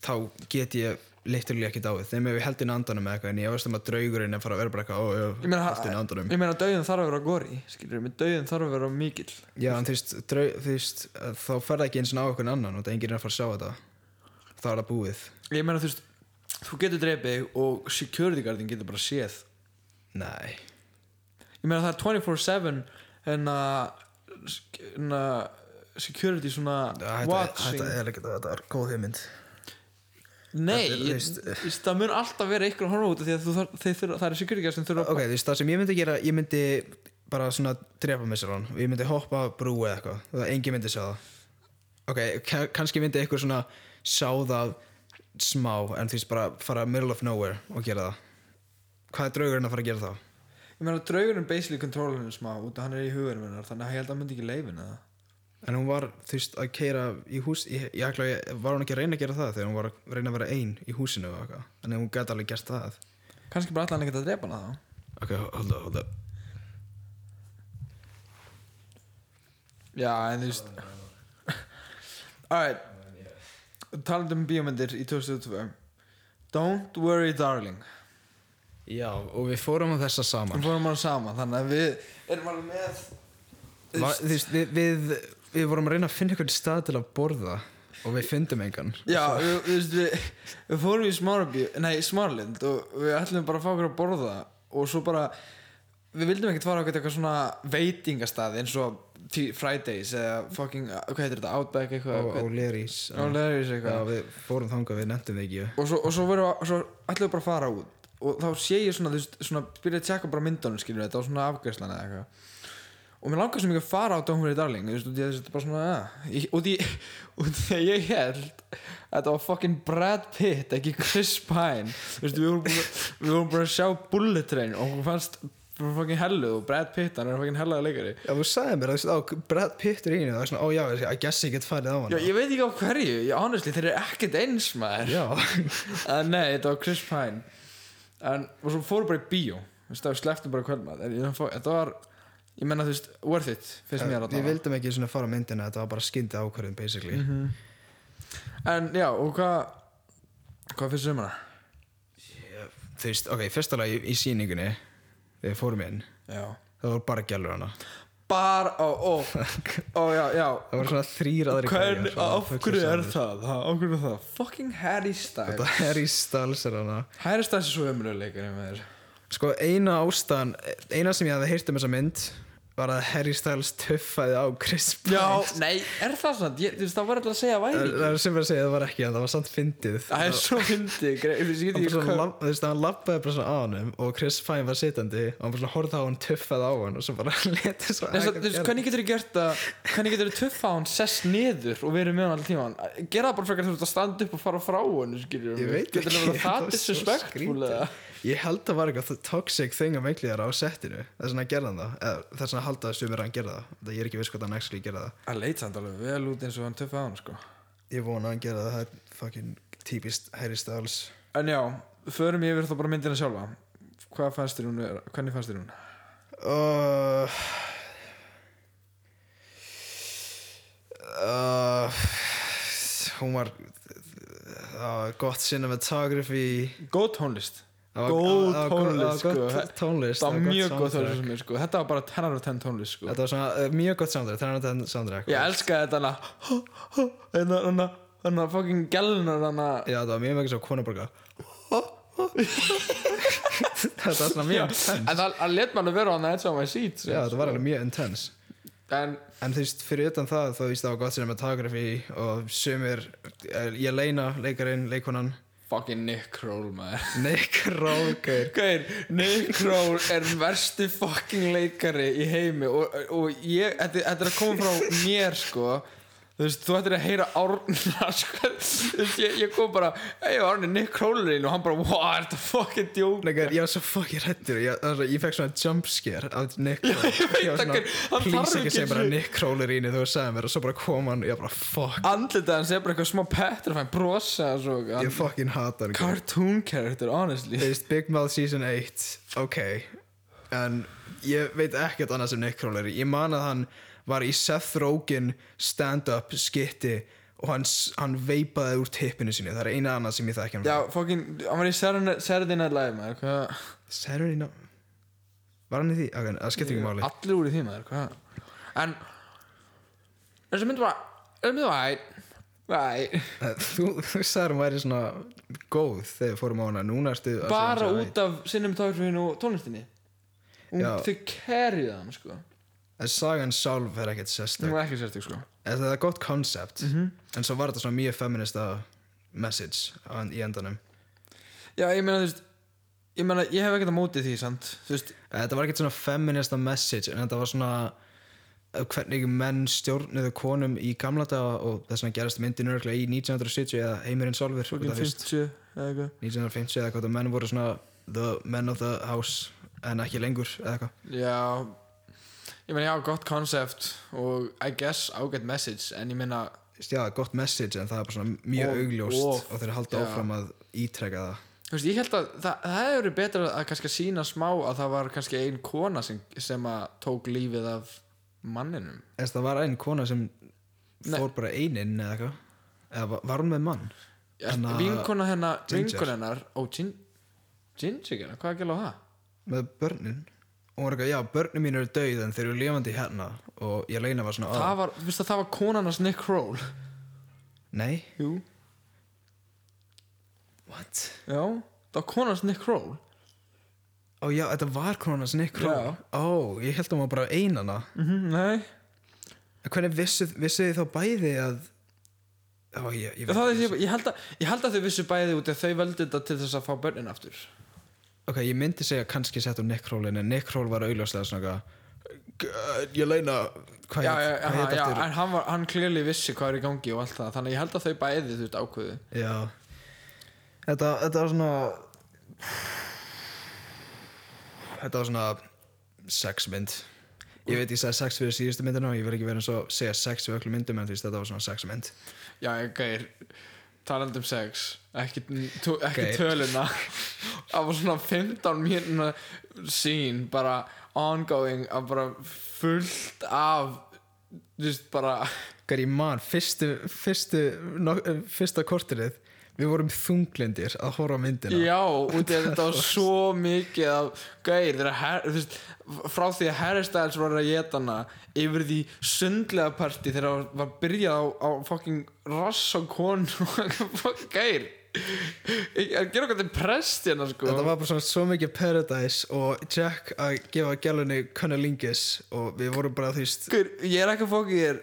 S1: þá get ég literally ekki dáið þeim ef ég held inn andanum eða eitthvað en ég veist um að draugurinn er fara að vera bara eitthvað ó, ó,
S2: ég meina,
S1: held inn andanum
S2: ég meina döðin þarf að vera góri, skilur mig, döðin þarf að vera mikill
S1: Já, en þú veist, drau, þú veist eh, þá fer það ekki eins og á einhvern annan og það er enginn er að fara að sjá þetta þá er það búið
S2: ég meina þú veist þú getur dreipið þig og security guardin getur bara séð
S1: Nei,
S2: ég meina það er 24-7 en að hérna, security svona
S1: þetta,
S2: watching
S1: þetta er ekki þetta er góð hugmynd
S2: nei,
S1: þetta er-
S2: ég,
S1: veist-
S2: ég, það mun alltaf vera ykkur að horfa út af því að þú, þar, þeir, þurfa- það er security guard sem þurfa
S1: Ok, þú veist, það sem ég myndi gera, ég myndi bara svona drepa mig sér hann og ég myndi hoppa af brú eða eitthvað það enginn myndi sjá það Ok, ka- kannski myndi einhver svona sjá það smá en þú veist bara fara middle of nowhere og gera það Hvað er draugurinn að fara að gera þá?
S2: ég meina draugurinn basically control henni smá út af hann er í hugunum hennar þannig að ég held að hann myndi ekki leifin það
S1: en hún var þú veist að keira í hús ég, ég, ætla að ég var hún ekki að reyna að gera það þegar hún var að reyna að vera ein í húsinu og eitthvað þannig að hún gæti alveg gert það
S2: kannski bara allan ekkert að drepa hana þá
S1: ok, hold up, hold up
S2: já, en þú veist alright talandi um bíómyndir í 2002 Don't Worry Darling
S1: já, og við fórum á þessa saman
S2: við fórum bara saman þannig að við erum alveg með
S1: Va, þú veist, við, við, við vorum að reyna að finna einhvern stað til að borða og við fundum engan
S2: já, við, þú veist, við, við fórum í smárabíu, nei, smárlind og við ætlum bara að fá okkur að borða og svo bara við vildum ekkert fara okkur eitthvað svona veitingastað eins og T- Fridays eða fucking, hvað heitir þetta, Outback eitthvað
S1: og, og Lerís
S2: og Larry's
S1: já,
S2: eitthvað
S1: við fórum þangað, við nefndum það ekki
S2: og svo, og svo, veru, svo ætlum við bara að fara út og þá sé ég svona, þú veist, svona byrja að tjekka bara myndunum, skilur þetta og svona afgjörslan eða eitthvað og mér langar sem ekki að fara á Dómfyrir Darling, þú veist, út í að þetta er bara svona ja, ég- út í, út í að ég held að þetta var fucking Brad Pitt ekki Chris Pine þú veist, við vorum búin að, við vorum búin að sjá Bullet Train og hún fannst bara fucking helluð og Brad Pitt, hann er fucking hellaða leikari
S1: Já, þú sagði mér, þú veist, á Brad Pitt er í henni það er svona, ó já, I guess ég get farið á hann
S2: Já, ég veit ekki á hverju, ég, honestly, þeir eru ekkert eins maður að Uh, nei, þetta var Chris Pine en, og svo fóru bara í bíó þú veist, það sleftum bara kvöldmað en ég- þetta var, ég menna þú veist, worth it finnst mér að
S1: Við vildum ekki svona fara á myndina þetta var bara skyndi ákvörðin basically
S2: en já, og hvað hvað finnst þér um hana?
S1: Þú veist, ok, fyrsta lagi í síningunni þegar við fórum inn,
S2: já
S1: það voru bara gælur hana
S2: bara, ó, ó, ó, já, já
S1: það voru svona þrýr aðri
S2: Hvern, af hverju er það? Ha, Af hverju er það? Fucking Harry Styles
S1: Þetta er í stalsar hana
S2: Harry Styles er svo umröðleikari með þér
S1: Sko, eina ástæðan, eina sem ég hafði heyrt um þessa mynd var að Harry Styles tuffaði á Chris Pine
S2: Já, nei, er það svona? Ég, þú veist, það var alltaf að segja væri
S1: Það
S2: ekki.
S1: það er sem verið að segja að það var ekki en það var samt fyndið
S2: Það er svo fyndið, grei- ég finnst
S1: Hann
S2: ekki
S1: bara svona
S2: hvað-
S1: labb- þú veist, hann labbaði bara svona á hann og Chris Pine var sitjandi og hann bara svona horfði á hann tuffað á hann og svo bara letið svo
S2: Nei, svo, þú veist, hvernig getur þið gert það hvernig getur þið tuffa hann sess niður og verið með hann alltaf tíma gera það bara frekar þú veist að standa upp og fara frá hann skilur
S1: Ég veit
S2: getur
S1: ekki, það
S2: það það
S1: var svo
S2: disrespectful
S1: skrítið.
S2: eða
S1: Ég held að var eitthvað toxic thing að meikli þér á settinu þess að hann gerði hann það eða þess að hann haldaði að sumir að hann gerði það það ég er ekki viss hvort hann actually gerði það
S2: Það leit samt alveg vel út eins og hann tuffa hann sko
S1: Ég vona að hann gerði það það er fucking típist Harry Styles
S2: en já, förum ég yfir þá bara myndina sjálfa hvað fannst þér hún vera- hvernig fannst þér hún
S1: uh, uh, Hún var uh, gott cinematography
S2: góð tónlist
S1: Það var-
S2: Góð
S1: það var- það var
S2: tónlist, sko.
S1: gott tónlist
S2: það
S1: það
S2: var
S1: var
S2: mjög góð
S1: soundtrack.
S2: tónlist sem ég sko þetta var bara 10 af 10 tónlist sko
S1: Þetta var svona uh, mjög gott soundtrack Það er náttúrulega soundtrack
S2: ég elskaði þetta hana hana hana hana fucking gælunar hana
S1: Já, það var mjög mikið svo konuborga Þetta var svona mjög intense
S2: en það það let mann að vera hann að þetta var sýt sko.
S1: Já, þetta var alveg mjög intense
S2: en
S1: En þú veist, fyrir utan það, þá víst það var gott cinematography og sumir, eh, ég leina leikarinn, leikonan
S2: Fucking Nick Kroll maður
S1: Nick Roger
S2: Gauir, Nick Kroll er versti fucking leikari í heimi og, og ég, þetta, þetta er að koma frá mér sko Þú veist, þú ættir að heyra Árna sko. Þú veist, ég, ég kom bara Ei, Árni, Nick Kroll er inn og hann bara Wow, er þetta fucking djók
S1: Nei, gæir, ég var svo fucking hrættur ég, það var svo- ég fekk svona jumpscare af Nick Kroll Ég
S2: veit
S1: var
S2: það,
S1: svona,
S2: gaur, hann þarf
S1: please
S2: ekki
S1: ekki segja
S2: einu
S1: bara
S2: sinni-
S1: Nick Kroll er íni þú sagði mér og svo bara kom hann, ég bara fuck
S2: Andlitað hans er bara eitthvað smá petrifæn Brosa svo
S1: Ég
S2: hann,
S1: fucking hata hann
S2: Cartoon character, honestly
S1: Þú veist, Big Mouth Season 8 Ok En ég veit ekkert annað sem Nick Kroll er í. Ég man að hann var í Seth Rogen stand-up skitti og hann, s- hann veipaði úr tippinu sinni Það er eina annað sem ég þekki um hann
S2: Já,
S1: frá.
S2: fucking, hann var í Saturday Saturday Night Live maður hvað-
S1: Saturday Night Var hann í því? Ok, það skiptir ekki máli
S2: Allir úr í því maður hvað? En Þessi mynd var Þessi mynd var hætt Right.
S1: Þú, þú sagði hann væri svona góð þegar við fórum á hana Núna ertu að segja
S2: bara
S1: hann sé
S2: út af cinematografinu og tónlistinni um,
S1: Já.
S2: þau kerjuð hann sko
S1: væt. En sagan sjálf er ekkert
S2: það
S1: sérstök
S2: var ekki sérstök sko
S1: En Það er gott koncept
S2: Mhm.
S1: En svo var þetta svona mjög feminista message á- í endanum
S2: já ég meina þú veist ég meina ég hef ekkert að móti því sant þú veist
S1: Eh, Þetta var ekkert svona feminista message en þetta var svona uh, hvernig menn stjórnuðu konum í gamla daga og þess vegna gerist myndin örgulega í 1970 eða heimurinn solfur
S2: fucking 50 eða eitthvað
S1: 1950 eða hvað það menn voru svona the men of the house en ekki lengur eða eitthvað
S2: já ég meina já, gott concept og I guess ágætt message en ég meina,
S1: já, gott message en það er bara svona mjög
S2: Og-
S1: augljóst
S2: og-
S1: og þeir halda
S2: já.
S1: áfram að ítreka það
S2: þú veist, ég held að það, það hefur verið betra að kannski sína smá að það var kannski ein kona sem, sem að tók lífið af manninum
S1: en það var einn kona sem
S2: Nei.
S1: fór bara eininn eða eitthvað eða var- var hún með mann
S2: Ja,
S1: En að-
S2: vinkona hennar,
S1: Ginger.
S2: vinkona hennar og gin, Ginger, hérna, hvað er ekki alveg það?
S1: með börnin og hún var eitthvað, já, börnin mín eru döið en þeir eru lifandi hérna og ég leina var svona,
S2: Það
S1: að,
S2: var, þú veist að það var konan hans Nick Kroll
S1: nei
S2: Jú
S1: what?
S2: Já, það var konan hans Nick Kroll
S1: ó já, þetta var konan hans Nick Kroll
S2: Já.
S1: ó, ég held að hún var bara einana
S2: mm -hmm, Nei,
S1: en hvernig vissu, vissu þið þá bæði að ó, ég, ég,
S2: það er,
S1: veit-
S2: ég, ég, held að, ég held að þau vissu bæði út að þau völdu þetta til þess að fá börnin aftur
S1: ok, ég myndi segja kannski sett úr Nick Kroll en Nick Kroll var augljóslega svona eitthvað, ég leina hvað
S2: Já, já,
S1: hét-
S2: já,
S1: hvað
S2: já,
S1: heit
S2: já
S1: aftur
S2: en hann, var, hann klirli vissi hvað er í gangi og allt það Þannig að ég held að þau bæði þú veist ákveðu
S1: Já Þetta, þetta var svona Þetta var svona sexmynd Ég veit ég sagði sex fyrir síðustu myndina og ég vil ekki vera eins og segja sex fyrir öllum myndum en því þetta var svona sexmynd
S2: Já, ég gæir, talandi um sex ekki, tú, ekki
S1: Geir.
S2: töluna það var svona 15 mínuna sín bara ongoing að bara fullt af þú veist bara
S1: Hvað ég man, fyrstu, fyrstu no, eh, fyrsta korterið við vorum þunglindir að horfa á myndina
S2: já, út í að þetta var svo mikið af gæir þegar her, þú veist, frá því að Harry Styles var að geta hana yfir því sundlega partí þegar það var, var byrjað á, á fucking rass og konu fucking gæir að gera okkur til prest hérna sko
S1: Þetta var bara svona svo mikið paradise og Jack að gefa gælunni Cunnilingus og við vorum bara þú veist
S2: Guður, ég er ekki að fókið ég er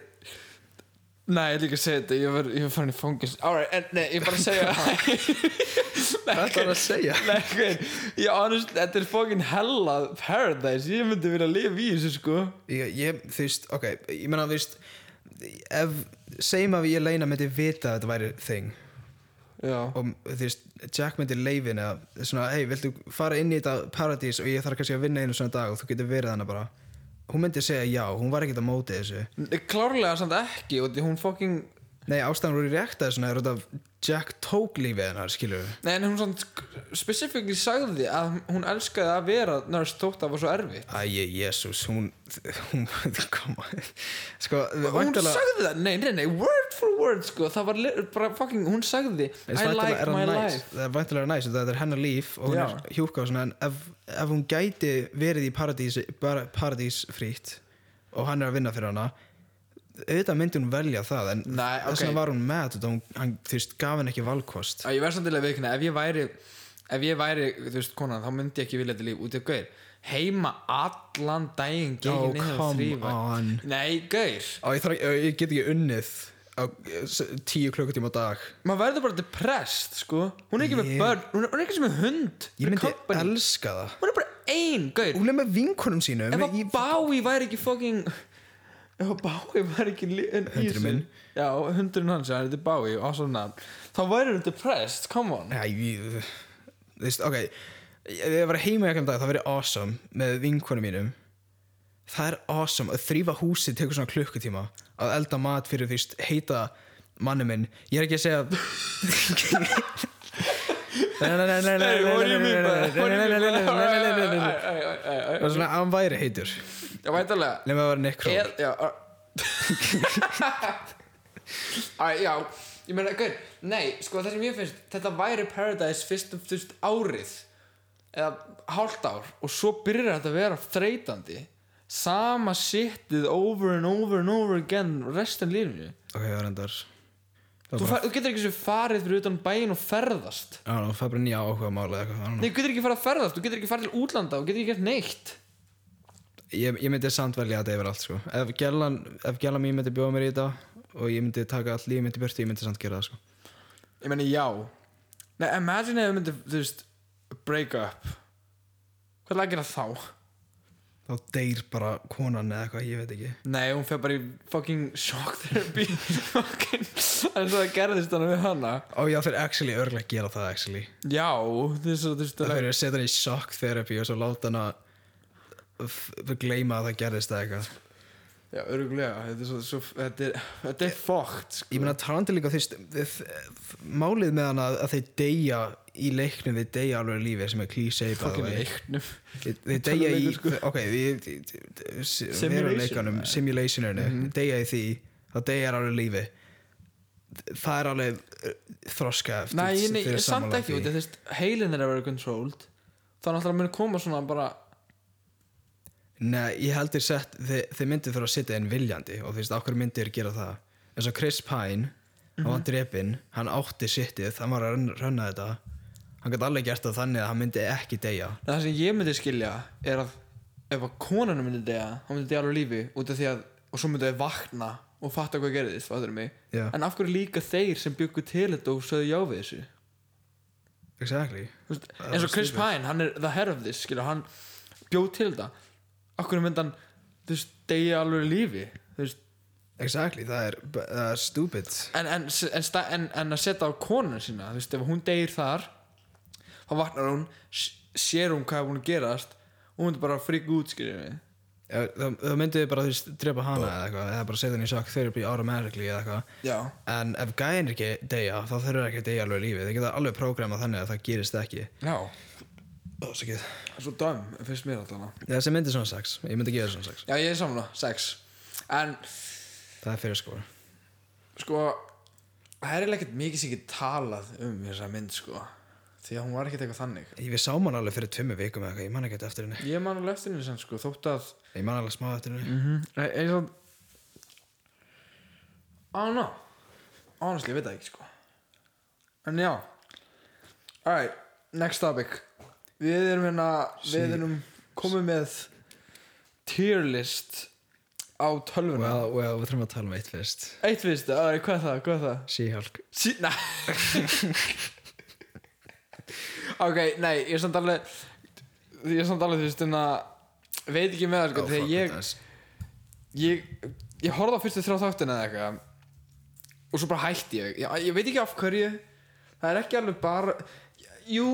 S2: Nei, ég er líka að segja þetta Ég var, ég var farin í fóngis Alright, en nei, ég er bara að segja Nei,
S1: Hvað ætlarðu að segja?
S2: Nei, guður, ég honest Þetta er fókin hella paradise Ég myndi vilja lifa í þessu, sko
S1: ég, ég þú veist, ok, ég meina þú veist ef, segjum að ég leina myndi vita að þetta væri þing
S2: Já
S1: og þú veist, Jack myndi leifin eða svona, hei, viltu fara inn í þetta paradís og ég þarf kannski að vinna einu svona dag og þú getur verið hana bara hún myndi segja já, hún var ekkert að móti þessu
S2: Klárlega samt ekki Og því hún fókin
S1: nei, ástæðan voru rétt að svona er út af Jack tók lífið hennar, skilur við
S2: Nei, en hún samt Specifíkli sagði að hún elskaði að vera Nörst þótt að það var svo erfitt
S1: Æi, jésús, hún, hún, koma, sko,
S2: Hún
S1: væntanlega-
S2: sagði það, nei, nei, nei, word for word sko, það var li- bara fucking, hún sagði
S1: En
S2: I
S1: væntanlega
S2: like
S1: er hann
S2: my
S1: næs.
S2: life
S1: Það er væntalega næs, þetta er hennar líf og hún
S2: Já.
S1: er hjúka og svona en ef, ef hún gæti verið í paradís, bara paradís frítt og hann er að vinna fyrir hana auðvitað myndi hún velja það en
S2: Nei, ok.
S1: þess vegna var hún með þetta hún, hann, þú veist, gaf henn ekki valkost
S2: að ég verð samtilega veikina ef ég væri ef ég væri, þú veist, konan, þá myndi ég ekki vilja þetta líf út af gaur, heima allan daginn,
S1: Oh,
S2: gegin niður og
S1: come
S2: þrýfa
S1: on.
S2: nei,
S1: og
S2: gaur
S1: ég, þarf, ég, ég get ekki unnið á eh, s- tíu klukkutíma á dag
S2: maður verður bara depressed, sko hún er ekki með
S1: Ég-
S2: börn, hún er, hún er ekki sem með hund
S1: ég
S2: með
S1: myndi
S2: company.
S1: elska það
S2: hún er bara ein, gaur
S1: hún er með vinkonum sínum
S2: ef að
S1: ég,
S2: Bowie væri ekki fucking ef að Bowie væri ekki li- en í
S1: Hundurinn
S2: þessu-
S1: minn.
S2: já, hundurinn hans, já, þetta er Bowie og svona, þá væri hún depressed come on,
S1: Já, ég, þú veist, ok Ef ég var heima í einhvern dag, það verið awesome með vinkonum mínum Það er awesome að þrýfa húsið tekur svona klukkutíma að elda mat fyrir því heita manni minn Ég er ekki að segja
S2: Hey, what do you mean by that? What do you mean by that?
S1: Það
S2: Æ, æ, æ, æ, æ, æ.
S1: var svona að hann væri heitur
S2: Já, væntanlega
S1: Nefnum að vera nekkró
S2: er, já, ar... Æ, já, ég meina, gaur, nei, sko það sem ég finnst, þetta væri Paradise fyrst og fyrst árið eða hálft ár og svo byrjar þetta að vera þreytandi sama sittið over and over and over again restan lífinu
S1: Ok, það er endar
S2: þú, far, þú getur ekki sem farið fyrir utan bæin og ferðast
S1: Það er bara nýja áhuga mála
S2: nei, þú getur ekki farið að ferðast, þú getur ekki farið til útlanda þú getur ekki gert neitt
S1: ég, ég myndi samt velja þetta yfir allt sko. ef gælan, ef gælan mín myndi bjóða mér í þetta og ég myndi taka all líf myndi burti ég myndi samt gera það sko.
S2: ég meina já nei, imagine ef við myndum, þú veist break up hvað er að gera þá?
S1: þá deyr bara konan eða eitthvað, ég veit ekki
S2: Nei, hún fer bara í fucking shock therapy fucking, en svo það gerðist hann við hana
S1: og já þeir actually örglega gera það actually
S2: Já, þess að þú veist
S1: það
S2: að
S1: fyrir að setja hann í shock therapy og svo láta hann að f- f- gleyma að það gerðist eða eitthvað
S2: Já, öruglega, þetta er svo, svo þetta er, þetta er fókt sko.
S1: ég meina talandi líka þú veist, þ- þ- málið með hann að, að þeir deyja í leiknum þeir deyja alveg lífið sem er klísei
S2: fucking leiknum
S1: þeir þeir deyja í
S2: Tölvuleikur, sko.
S1: ok, við
S2: Simulation. Mhm.
S1: veruleikanum, simulationinu mm deyja í því, það deyja alveg lífi það er alveg eh, þroska eftir
S2: Nei, ég- nei,
S1: þau eru
S2: samt
S1: sammála
S2: ekki
S1: því.
S2: út, þú veist, heilin er að vera controlled þannig að það muni koma svona bara
S1: Nei, ég heldur sett þeir, þeir myndir þurfa að sitja inn viljandi og þú veist, okkur myndir gera það eins og Chris Pine, hann
S2: Mhm.
S1: var drepinn hann átti sittið, hann var að run- runna þetta hann gæti alveg gert það þannig að hann myndi ekki deyja
S2: Nei, það sem ég myndi skilja er að ef að konanum myndi dega hún myndi dega alveg á lífi út af því að og svo myndi þau vakna og fatta hvað gerðist fattur mig
S1: Já.
S2: en af hverju líka þeir sem byggu til þetta og sögðu já við þessu
S1: Exactly
S2: Þú veist, eins og Chris Pine, hann er the head of this skilja, hann bjóð til þetta af hverju myndi hann þú veist, degja alveg á lífi þú veist,
S1: Exactly, það er uh, stupid
S2: en, en, en, sta- en, en að setja á konuna sína þú veist, ef hún deyr þar þá vaknar hún, s- sér hún hvað er búin að gerast og hún myndi bara að frika út skilja mig
S1: Já, Það það myndi bara þú veist, drepa hana eða eitthvað eða bara setja hann í shock therapy automatically eða eitthvað
S2: já
S1: en ef gæðin ekki deyja þá þurfa þeir ekki að deyja alveg í lífið þeir geta alveg prógrama þannig að það gerist ekki
S2: Já,
S1: Ósakið.
S2: það er svo döm, finnst mér allan
S1: Þessi myndi svona sex, ég myndi gefa svona sex
S2: Já, ég er saman á, sex En,
S1: Það er fyrir skóra
S2: sko Það er eiginlega ekkert mikið sem ekki talað um þessa mynd, sko Því að hún var ekkert eitthvað þannig
S1: Ég við sáum hann alveg fyrir tvimmu vikum eða eitthvað, ég man ekki eftir henni
S2: Ég man alveg eftir henni sem, sko, þótt að
S1: Ég man alveg smá eftir henni
S2: mm -hmm. Eins og I don't know Honestly, ég veit það ekki, sko En já Alright, next topic Við erum hérna, við erum komið með tier list á tölvuna
S1: Well, well, við þurfum að tala um eitt fyrst
S2: Eitt fyrst, aðri, hvað er það, hvað er það?
S1: She-Hulk
S2: Sí, næ Ok, nei, ég er samt alveg Ég er samt alveg, þú veist, en að Veit ekki með
S1: Oh,
S2: það, sko, þegar ég Ég, ég horfði á fyrstu þrjá þáttina eða eitthvað Og svo bara hætti ég ég, ég veit ekki af hverju Það er ekki alveg bara Jú,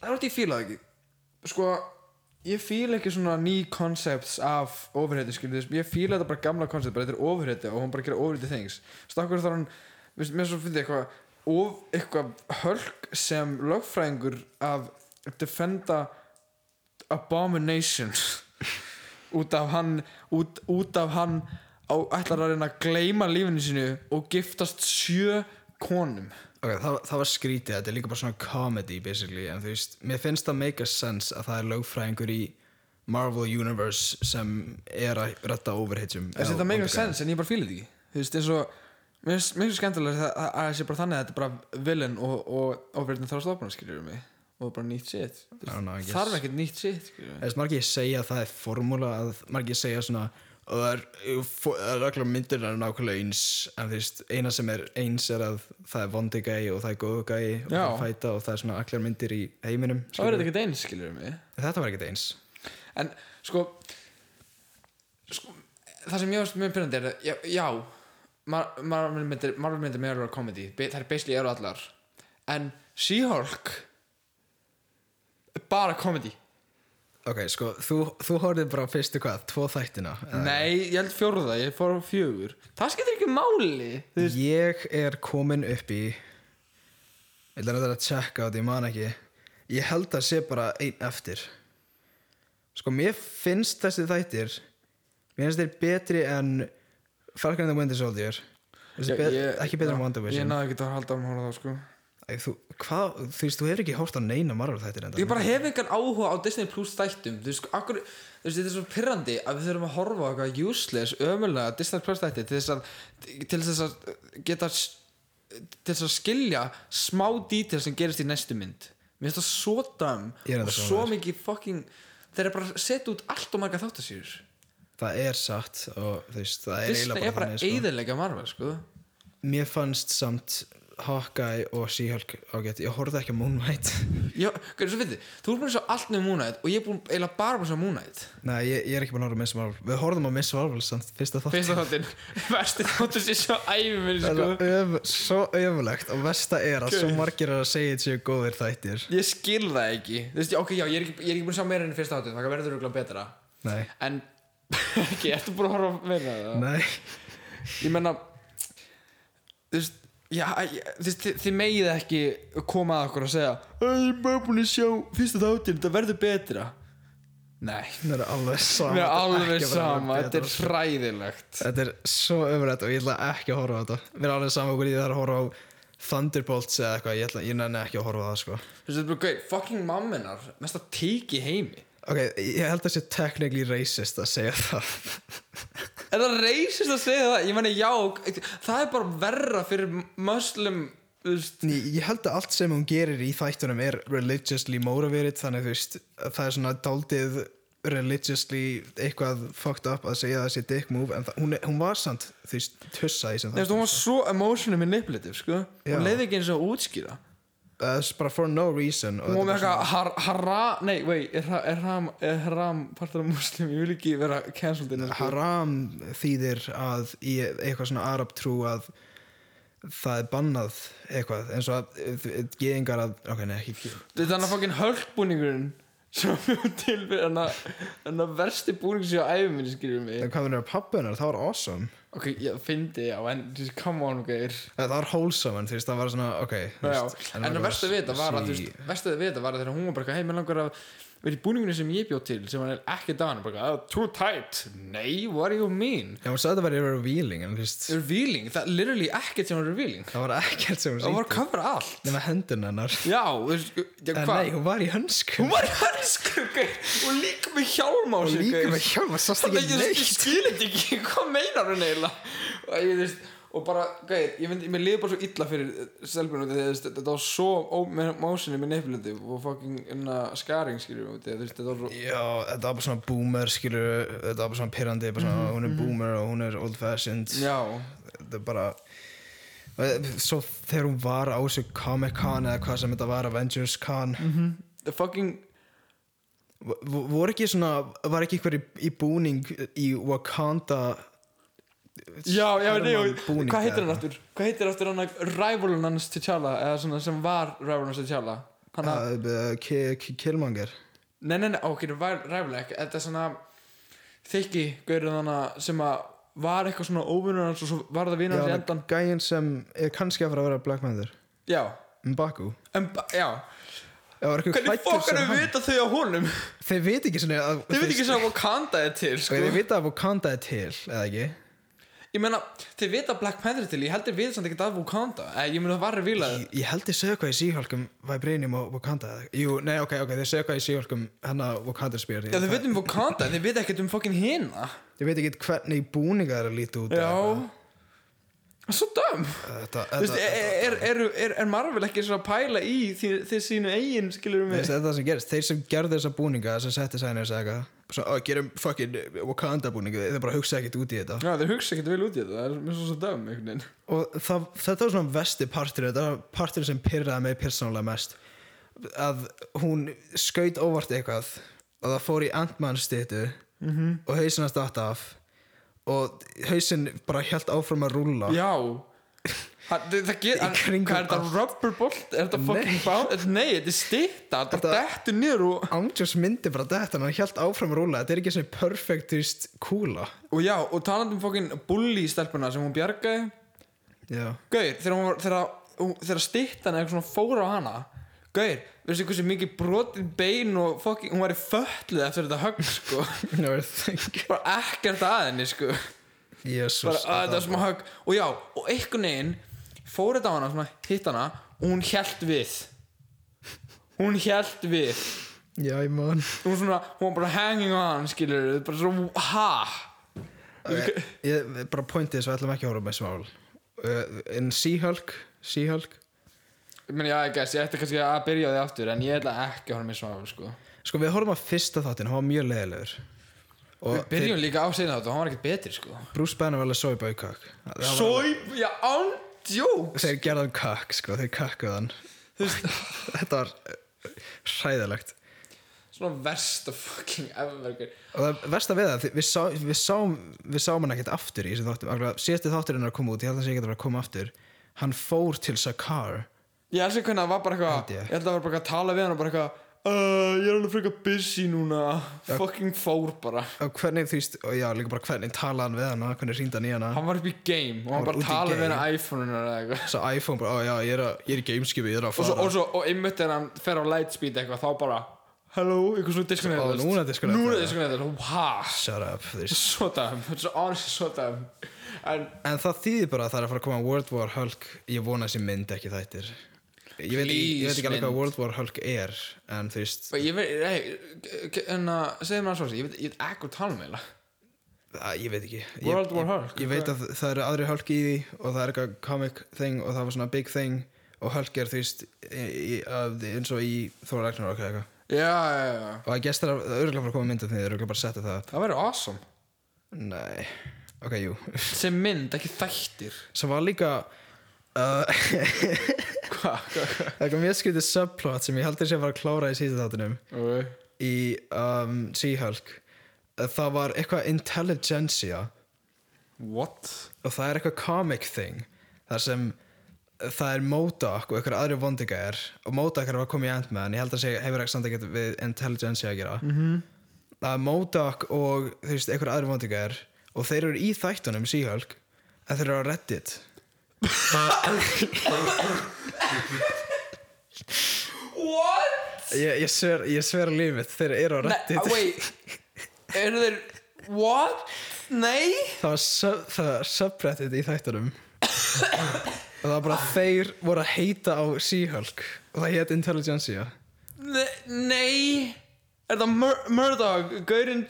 S2: það er átt ég fíla það ekki Sko, ég fíla ekki svona ný concepts af overheiti skilur Ég fíla þetta bara gamla concept bara Þetta er overheiti og hún bara gera overheiti things Stakkur þar hann, veist, mér er svo fyndi eitthvað of, Eitthvað hölk sem lögfræðingur af Defenda Abomination út af hann út, út af hann á, ætlar að reyna að gleyma lífinu sínu og giftast sjö konum
S1: Ok, það, það var skrítið, þetta er líka bara svona comedy basically, en þú veist, mér finnst það make a sense að það er lögfræðingur í Marvel Universe sem er að rötta overhitjum
S2: þessi þetta meikar sens en ég bara fíla þetta ekki þú veist eins og mér finnst- mér finnst skemmtilega að að það sé bara þannig að þetta er bara villain og, og ofriðin þarf stofnum skiljur mig og bara nýtt shit Þú
S1: I don't know, I guess. Eh,
S2: veist, þarf ekkert nýtt shit skilurðu mig.
S1: Þess margir segja að það er formúla að margir segja svona og það er, fó- það er allar myndir er nákvæmlega eins en þú veist, eina sem er eins er að það er vondi gæi og það er góðu gæi og það
S2: Já.
S1: er fæta og það er svona allar myndir í heiminum
S2: þá er
S1: skilurðu.
S2: þetta ekkert eins skiljur mig
S1: Þetta var ekkert eins
S2: en sko, sko það sem ég varst mjög pyrrandi er að- já, já Mar- Marvel myndir Marvel myndir meira að komedi það er basically eru allar en She-Hulk er bara komedi
S1: Ok, sko, þú, þú horfðir bara á fyrstu hvað, tvo þættina
S2: Mhm.
S1: eða-
S2: nei, ég held fjórða, ég fór á fjögur það skiptir ekki máli Þú veist,
S1: Ég er komin upp í Ég ætla að þetta að checka á því, ég man ekki Ég held að sé bara einn eftir Sko, mér finnst þessi þættir Mér finnst þeir betri en Falcon and the Winter Soldier Þessi
S2: ég-
S1: bet,
S2: ég-
S1: Ekki betri en
S2: já,
S1: Wonder
S2: ég
S1: Vision
S2: náði ekki að halda um hóra þá sko
S1: Æ, þú, hvað, þú veist, þú hefur ekki hórt á neina Marvel þættir enda sko.
S2: ég bara hef engan áhuga á Disney Plus þættum þú veist, akkur, þú veist, þetta er svo pirrandi að við þurfum að horfa á eitthvað useless, ömulega Disney Plus þætti til þess að til þess að geta til þess að skilja smá detail sem gerist í næstu mynd mér finnst það svo dæm
S1: Ég er enda
S2: og
S1: sammála
S2: svo
S1: þér.
S2: mikið fucking þeir eru bara að setja út allt og marga þáttasýr
S1: Það er satt og þú veist, það er
S2: Disney
S1: eiginlega
S2: er bara
S1: bara þannig sko.
S2: eiðilega marga sko
S1: Mér fannst samt Hawkeye og She-Hulk ágætt Ég horfði ekki á Moon Knight
S2: Já, hvað er svo fyndið? Þú ert búin að sjá allt með Moon Knight og ég er búin eiginlega bara búin að sjá Moon Knight
S1: Nei, ég, ég er ekki búin að horfa á Miss Marvel Við horfðum á Miss Marvel samt fyrsta þátt
S2: Fyrsta þáttinn, versti þáttur sér svo æfum minn
S1: Það
S2: sko
S1: er öf, svo öfulegt og versta er að svo margir er að segja þetta séu góðir þættir
S2: Ég skil það ekki Þú veist, já, ok, já, ég er ekki, ég er ekki búin að sjá meira enn í fyrsta þáttu Það verður örugglega betra
S1: Nei,
S2: en ekki, ertu búin að horfa að meina það?
S1: nei
S2: ég menna þú veist Já, ég- þú veist, þið, þið megið ekki koma að okkur að segja "Æ, Ég er bara búin að sjá fyrsta þáttir Þetta verður betra Nei,
S1: Það er alveg sama
S2: mér
S1: Þetta
S2: er
S1: ekki
S2: alveg
S1: að vera
S2: sama
S1: betra,
S2: Þetta er
S1: sko.
S2: fræðilegt
S1: Þetta er svo ömrætt og ég ætla ekki að horfa á þetta Mér er alveg sama hvernig ég þarf að horfa á Thunderbolts eða eitthvað, ég, ætla, ég nenni ekki að horfa á það sko.
S2: Þú veist, þetta er bara gauð Fucking mamminar, mest að teki heimi
S1: Ok, ég held að það sé technically racist að segja það
S2: Er það reisist að segja það? Ég meni, já, það er bara verra fyrir muslim Þú veist
S1: Ný, Ég held að allt sem hún gerir í þættunum er religiously motivated þannig þú veist, það er svona daldið religiously eitthvað fucked up að segja þessi dick move en það, hún, er- hún var samt þú veist, tussa í sem
S2: Þú veist,
S1: það
S2: hún var svo emotionally manipulative, sko
S1: Já.
S2: Hún leiði ekki eins og að útskýra
S1: það er bara for no reason og
S2: Hún var með
S1: þetta er bara
S2: eitthvað har, harra, nei, wait, er, ha- er haram, er haram partur af muslim, ég vil ekki vera cancelled inn.
S1: svona- haram þýðir að í eitthvað svona arab trú að það er bannað eitthvað eins og að eh, gyðingar að ok, nei, ekki gyðingar
S2: Þetta er hann að fokkin hölkbúningurinn sem við til fyrir hann að, hann að versti búningur sem ég á æfum minni, skiljum mig.
S1: en hvað hann er að pappa hennar, það var awesome
S2: Ok, ég fyndi, já, en, þú veist, come on, gauðir.
S1: Eh, það var wholesome en þú veist, það var svona, ok þú
S2: Já,
S1: veist,
S2: en það
S1: var
S2: versta við þetta var að, þú
S1: sí-
S2: veist, versta við þetta var að þegar hún var bara, eitthvað, hei, mér langar að vera í búningunni sem ég bjóð til, sem hann er ekki dagan, bara, eitthvað, "Oh, too tight, nei, what do you mean?
S1: Já, hún sagði þetta væri revealing en þú veist,
S2: Revealing, það er literally ekkert sem er revealing.
S1: það var ekkert sem hún
S2: Það var að
S1: sýtti
S2: cover allt.
S1: nema hendun hennar
S2: Já, þú veist, já,
S1: en
S2: hvað?
S1: nei, hún var í hönsku
S2: Hún var í hansku, gaur, og líka með hjálm á
S1: og
S2: sig,
S1: líka
S2: gaur.
S1: með hjálma, sást
S2: Þannig
S1: ekki
S2: að ég
S1: neitt
S2: skil þetta ekki, hvað meinar hún eiginlega? Og ég veist, og bara, gæðir, ég myndi, mér liði bara svo illa fyrir eh, stelpunum því að þetta- þetta var svo ómásinni með nefnilendi og fucking hérna, inna skaring, skiljum við, þú veist, þetta var svo,
S1: já, þetta var bara svona boomer skilur, þetta var bara svona pirrandi bara
S2: Mhm,
S1: svona, hún er boomer og hún er old fashioned
S2: já,
S1: þetta er bara svo þegar hún var á þessu Comic Con eða hvað sem þetta var, Avengers Con
S2: Mhm. the fucking,
S1: v- voru ekki svona, var ekki einhver í, í búning í Wakanda
S2: já, já,
S1: Hermann
S2: nei, og,
S1: búning
S2: hvað heitir
S1: eða
S2: hann aftur? Hvað heitir aftur hann að rivalun hans til tjala, eða svona sem var rivalun hans til tjala? Hann að,
S1: Uh, uh, Ki- Ki- Killmonger
S2: nei, nei, nei, ok, það var rivalun ekki, þetta er svona þykki, gaurið hann að, sem að var eitthvað svona óvinnur hans og svo var það vinnar hans í
S1: Já,
S2: endan
S1: gæinn sem er kannski að fara að vera Black Panther
S2: Já,
S1: Mbaku
S2: en, ba- já
S1: Já, var einhver
S2: Hvernig
S1: klæddur sem
S2: fokkar við
S1: hann?
S2: vita þau á honum?
S1: Þeir veit ekki svona að,
S2: Þau veit ekki sem að Wakanda er til
S1: sko. Þeir
S2: sko.
S1: vita að Wakanda er til, eða ekki
S2: Ég meina, þau vita að Black Panther er til Ég heldur við samt ekki að Wakanda Eh, Ég meina það var revílað
S1: Ég, ég held ég segja eitthvað í síhálkum Vibranium og Wakanda eða- Jú, nei, ok, ok, þeir segja eitthvað í síhálkum Hanna Wakanda spyr
S2: Já, þau veit um Wakanda, en þau veit ekkert um fokkin hina
S1: Ég veit ekki hvernig búninga þeirra líti út eða
S2: Já
S1: eitthvað.
S2: Það er Svo döm
S1: Þetta,
S2: Þú veist, e,
S1: þetta,
S2: er, er, er, er Marvel ekki svona að pæla í því, því sínu eigin, skilur við
S1: Nei,
S2: mig
S1: þetta er það sem gerist, þeir sem gerðu þessa búninga sem setti sæni og segja eitthvað Svo, "Ó, gerum fucking Wakanda búninga þeir bara hugsa ekkert út í þetta
S2: Já, þau hugsa ekkert vel út í þetta Það er mér svo svo döm, einhvern veginn
S1: og það, þetta var svona vesti partur þetta var partur sem pyrraði mig persónulega mest að hún skaut óvart eitthvað og það fór í Ant-Man stýttu -hmm. og hausin hans datt af og hausin bara held áfram að rúlla
S2: Já Það, það, það get,
S1: Ah. Í kringum
S2: hvað er þetta
S1: allt.
S2: rubberbolt er þetta fucking bá nei, þetta er stitta þetta
S1: Þetta-
S2: dettur niður og,
S1: Ángjórs myndi bara þetta en hann held áfram að rúlla þetta er ekki svona perfektist kúla
S2: og já, og talandi um fucking bully stelpuna sem hún bjargaði
S1: já,
S2: Gaur, þegar, hún var, þegar, hún- þegar stittan eða eitthvað svona fór á hana Gaur, veistu hversu mikið brotið bein og fucking, hún var í fölluð eftir þetta högg sko
S1: no thank
S2: bara ekkert að henni sko
S1: Jesus,
S2: bara ah, að þetta smá högg og já, og einhvern veginn fór þetta á hana, svona, hitt hana og hún hjælt við hún hjælt við
S1: já, ég man
S2: hún, svona, hún var bara hanging on skilur bara svona ha
S1: okay. ég bara pointið svo ætlum ekki að horfa með smál uh, en Seahulk Seahulk
S2: Ég meina, já, ég gæst, ég ætti kannski að byrja á því aftur en ég ætla ekki að horfa mér svafa, sko
S1: Sko við horfum að fyrsta þáttin, hann var mjög leiðilegur
S2: Við
S1: og
S2: byrjum líka á sinna þetta og hann var ekkert betri, sko
S1: þeir- Bruce Banner var alveg svo í baukak
S2: Sói, já, án djók
S1: Þeir gerði hann kakk, sko, þeir kakkuð hann Þetta var eh, hræðilegt
S2: Svona versta fucking ever gaur.
S1: og það versta við það, þið- við, sá, við, sáum, við sáum hann ekkert aftur í þessu þáttum Akkurat, síðasti þátturinn er að koma út, ég held að sé ekki að vera að koma aftur hann fór til Sakar
S2: Ég elsku hvernig það var bara eitthvað
S1: Held ég.
S2: Ég held að það var bara eitthvað að tala við hann og bara eitthvað uh, ég er alveg frekar busy núna fucking fór bara
S1: Og hvernig þú veist, og já líka bara hvernig talaði hann við hana hvernig síndi hann í hana
S2: hann var upp í game og
S1: Hann
S2: hann
S1: var
S2: bara
S1: úti í
S2: talaði
S1: game.
S2: með henni iPhone-una eða eitthvað
S1: svo iPhone bara, ó já, ég er, að, ég er í gameskipi, ég er að
S2: og
S1: fara
S2: svo, og svo, og einmitt þegar hann fer á lightspeed eitthvað þá bara, hello, eitthvað
S1: Ó,
S2: svona disconnected
S1: núna disconnected.
S2: núna disconnected, ha
S1: shut up þú veist.
S2: svo dæm, þetta er svo honestly svo dæm en
S1: En það þýðir bara að það er að fara að koma World War Hulk Ég vona þessi mynd ekki þættir Ég veit, ekki- ég veit ekki alveg
S2: Please,
S1: hvað World War Hulk er En þú veist,
S2: og ég veit, nei, en að segja mér að svo, ég veit, ég veit ekki hvað tala um eiginlega
S1: að, ég veit ekki ég,
S2: World War Hulk,
S1: Ég veit að það eru aðri Hulk í því Og það er eitthvað comic thing Og það var svona big thing Og Hulk er þú veist í, í, að, eins og í Thor Ragnarok eða eitthvað
S2: já, já, já, já,
S1: Og að gestur að örgulega fara að koma mynd af því Þeir eru örugglega bara að setja það upp.
S2: það væri awesome
S1: Nei, ok, jú
S2: sem mynd, ekki þættir
S1: Sem var líka uh,
S2: hvað, hvað, hvað
S1: Eitthvað mjög skrítið subplot Sem ég heldur sé að fara að klára í síðan þáttunum
S2: Ok.
S1: í um, She-Hulk að það var eitthvað intelligentsia
S2: what?
S1: og það er eitthvað comic thing þar sem uh, það er Modoc og eitthvað aðri vondiga er og Modoc er að koma í Ant-Man ég held að segja hefur ekki samt ekkert við intelligentsia að gera -hmm. að Modoc og þú veist, eitthvað aðri vondiga er og þeir eru í þættunum She-Hulk en þeir eru á Reddit
S2: what?
S1: ég, ég, sver, ég sver á lífið þeir eru á
S2: Nei, ah, oh,
S1: Reddit
S2: wait Eru þeir What? Nei
S1: það var, sub, það var subreddit í þættunum og það var bara þeir voru að heita á She-Hulk og það hétt Intelligentsia
S2: Ne- Nei Er það Mur Murdoch Gaurinn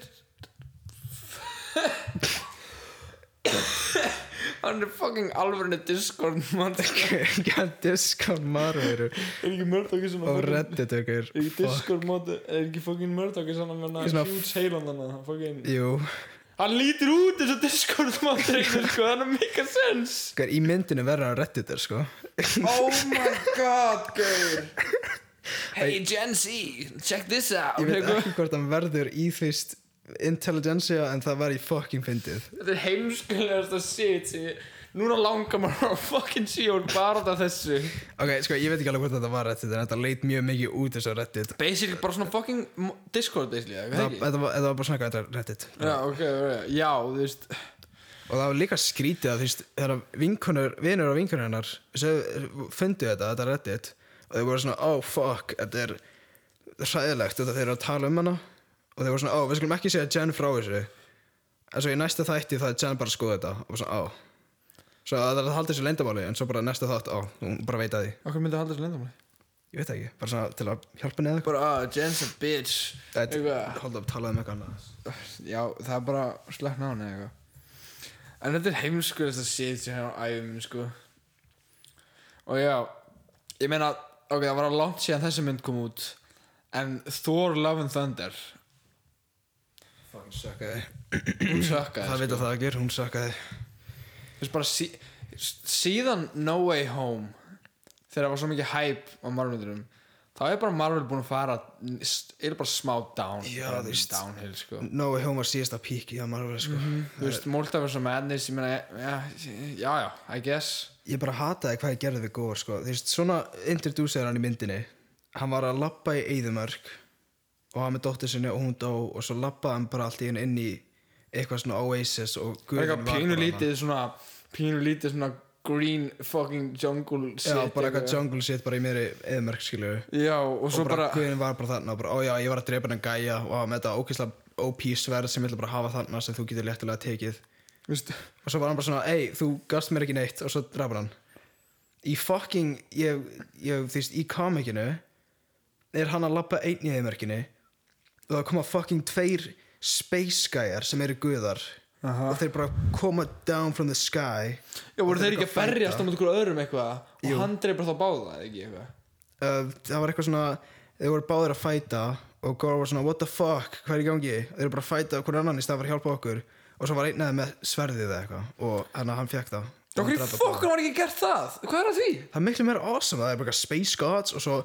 S2: Hann er fucking alvörinu Discord mann Er
S1: Discord Marveru
S2: ekki Murdoch í svona
S1: og reddit ykkur
S2: Er ekki
S1: Oh, Fuck.
S2: Discord móti Er ekki fucking Murdoch í svona Menna
S1: Í svona-
S2: huge heiland hann hann Fucking
S1: Jú,
S2: Hann lítur út eins og Discord móti Sko það er mikka sens
S1: Hver, í myndinu verður á reddit er sko
S2: Oh my god Gaur Hey Gen Z Check this out
S1: ég veit ekki hvort hann verður í þvist Intelligentsia en það var í fucking fyndið
S2: Þetta er heimskulegast að sitja Núna langar maður að fucking síðan bara það þessu
S1: ok, sko, ég veit ekki alveg hvort þetta var reddit en þetta leit mjög mikið út þess að reddit
S2: Basically bara svona fucking mo- Discord basically, eða
S1: það,
S2: ekki?
S1: þetta, var, þetta var bara svona eitthvað þetta er reddit
S2: Já, ok, ok, já, þú veist
S1: og það var líka skrítið að þú veist þegar vinkonur, vinur og vinkonur hennar sögðu- fundu þetta, þetta reddit og þau voru svona, oh fuck, þetta er hræðilegt, þetta þeir eru að tala um hana og þau voru svona, oh, við skulum ekki segja Jen frá þessu en svo í næsta þætti það er Jen bara að skoða þetta og svona, oh svo það er að halda þessu leindamáli en svo bara næsta þátt, oh, hún bara veit að því
S2: Okkur myndi að halda þessu lendamáli
S1: ég veit það ekki, bara svona til að hjálpa neða
S2: Bara, ah, Jen's a bitch Eitthvað.
S1: eitthvað hold up, talaði um eitthvað annað
S2: Já, það er bara slekna á hann eða eitthvað En þetta er heimskulegast að sitja hérna á æfum, sko Og já, ég meina, ok, það var að langt síðan þessi mynd kom út En Thor Love and Thunder
S1: Fucking suckaði.
S2: Hún sökkaði sko.
S1: það veit að það ekki, hún sökkaði
S2: Þú veist bara sí, síðan No Way Home þegar það var svo mikið hype á Marvelunum þá er bara Marvel búin að fara er bara smá down
S1: Já,
S2: bara
S1: þú veist. Mm,
S2: downhill sko
S1: Nói Hjóma síðasta píki, það maður verið sko
S2: þú veist, Multiverse of Madness ég meina, já, já, já, I guess
S1: ég bara hataði hvað ég gerði við góður sko. þú veist, svona introducer hann í myndinni hann var að labba í Eidumörk og hann með dóttir sinni og hún dó og svo labbaði hann bara allt í henni inn í eitthvað svona Oasis og
S2: það
S1: guðinn
S2: er eitthvað
S1: var
S2: pínu
S1: bara
S2: lítið svona pínu lítið svona green fucking jungle
S1: þarna. já,
S2: shit
S1: bara eitthvað jungle shit bara í meðri Eidumörk skilju og
S2: já, og svo
S1: bara,
S2: bara,
S1: guðinn var bara þarna og bara, ó já, ég var að drepa hann gæja og hann með þetta ókýrslega OP sverð sem ég ætla bara að hafa þarna sem þú getur léttilega tekið
S2: þú veist
S1: og svo var hann bara svona, ei, þú gafst mér ekki neitt og svo drafur hann í fucking, ég, ég þú veist, í komikinu er hann að labba einn í þeimörkinu og það koma fucking tveir space guyar sem eru guðar
S2: Aha.
S1: og þeir bara koma down from the sky
S2: já, voru
S1: Og
S2: þeir ekki að
S1: eitthvað að
S2: berjast á
S1: fighta.
S2: mjög okkur öðrum eitthvað
S1: Jú.
S2: og hann dreipur þá báða eða ekki eitthvað
S1: uh, það var eitthvað svona þeir voru báðir að fæta og Gore var svona what the fuck, hvað er í gangi þeir eru bara að fæta okkur annan í stað fyrir að hjálpa okkur og svo var einn eða með sverðið eða eitthvað og hann, hann fekk það Og hann
S2: Okkur í
S1: drap þá báða.
S2: fokkun var ekki gert það? Hvað er að því?
S1: það er miklu meira awesome það er bara eitthvað space gods og svo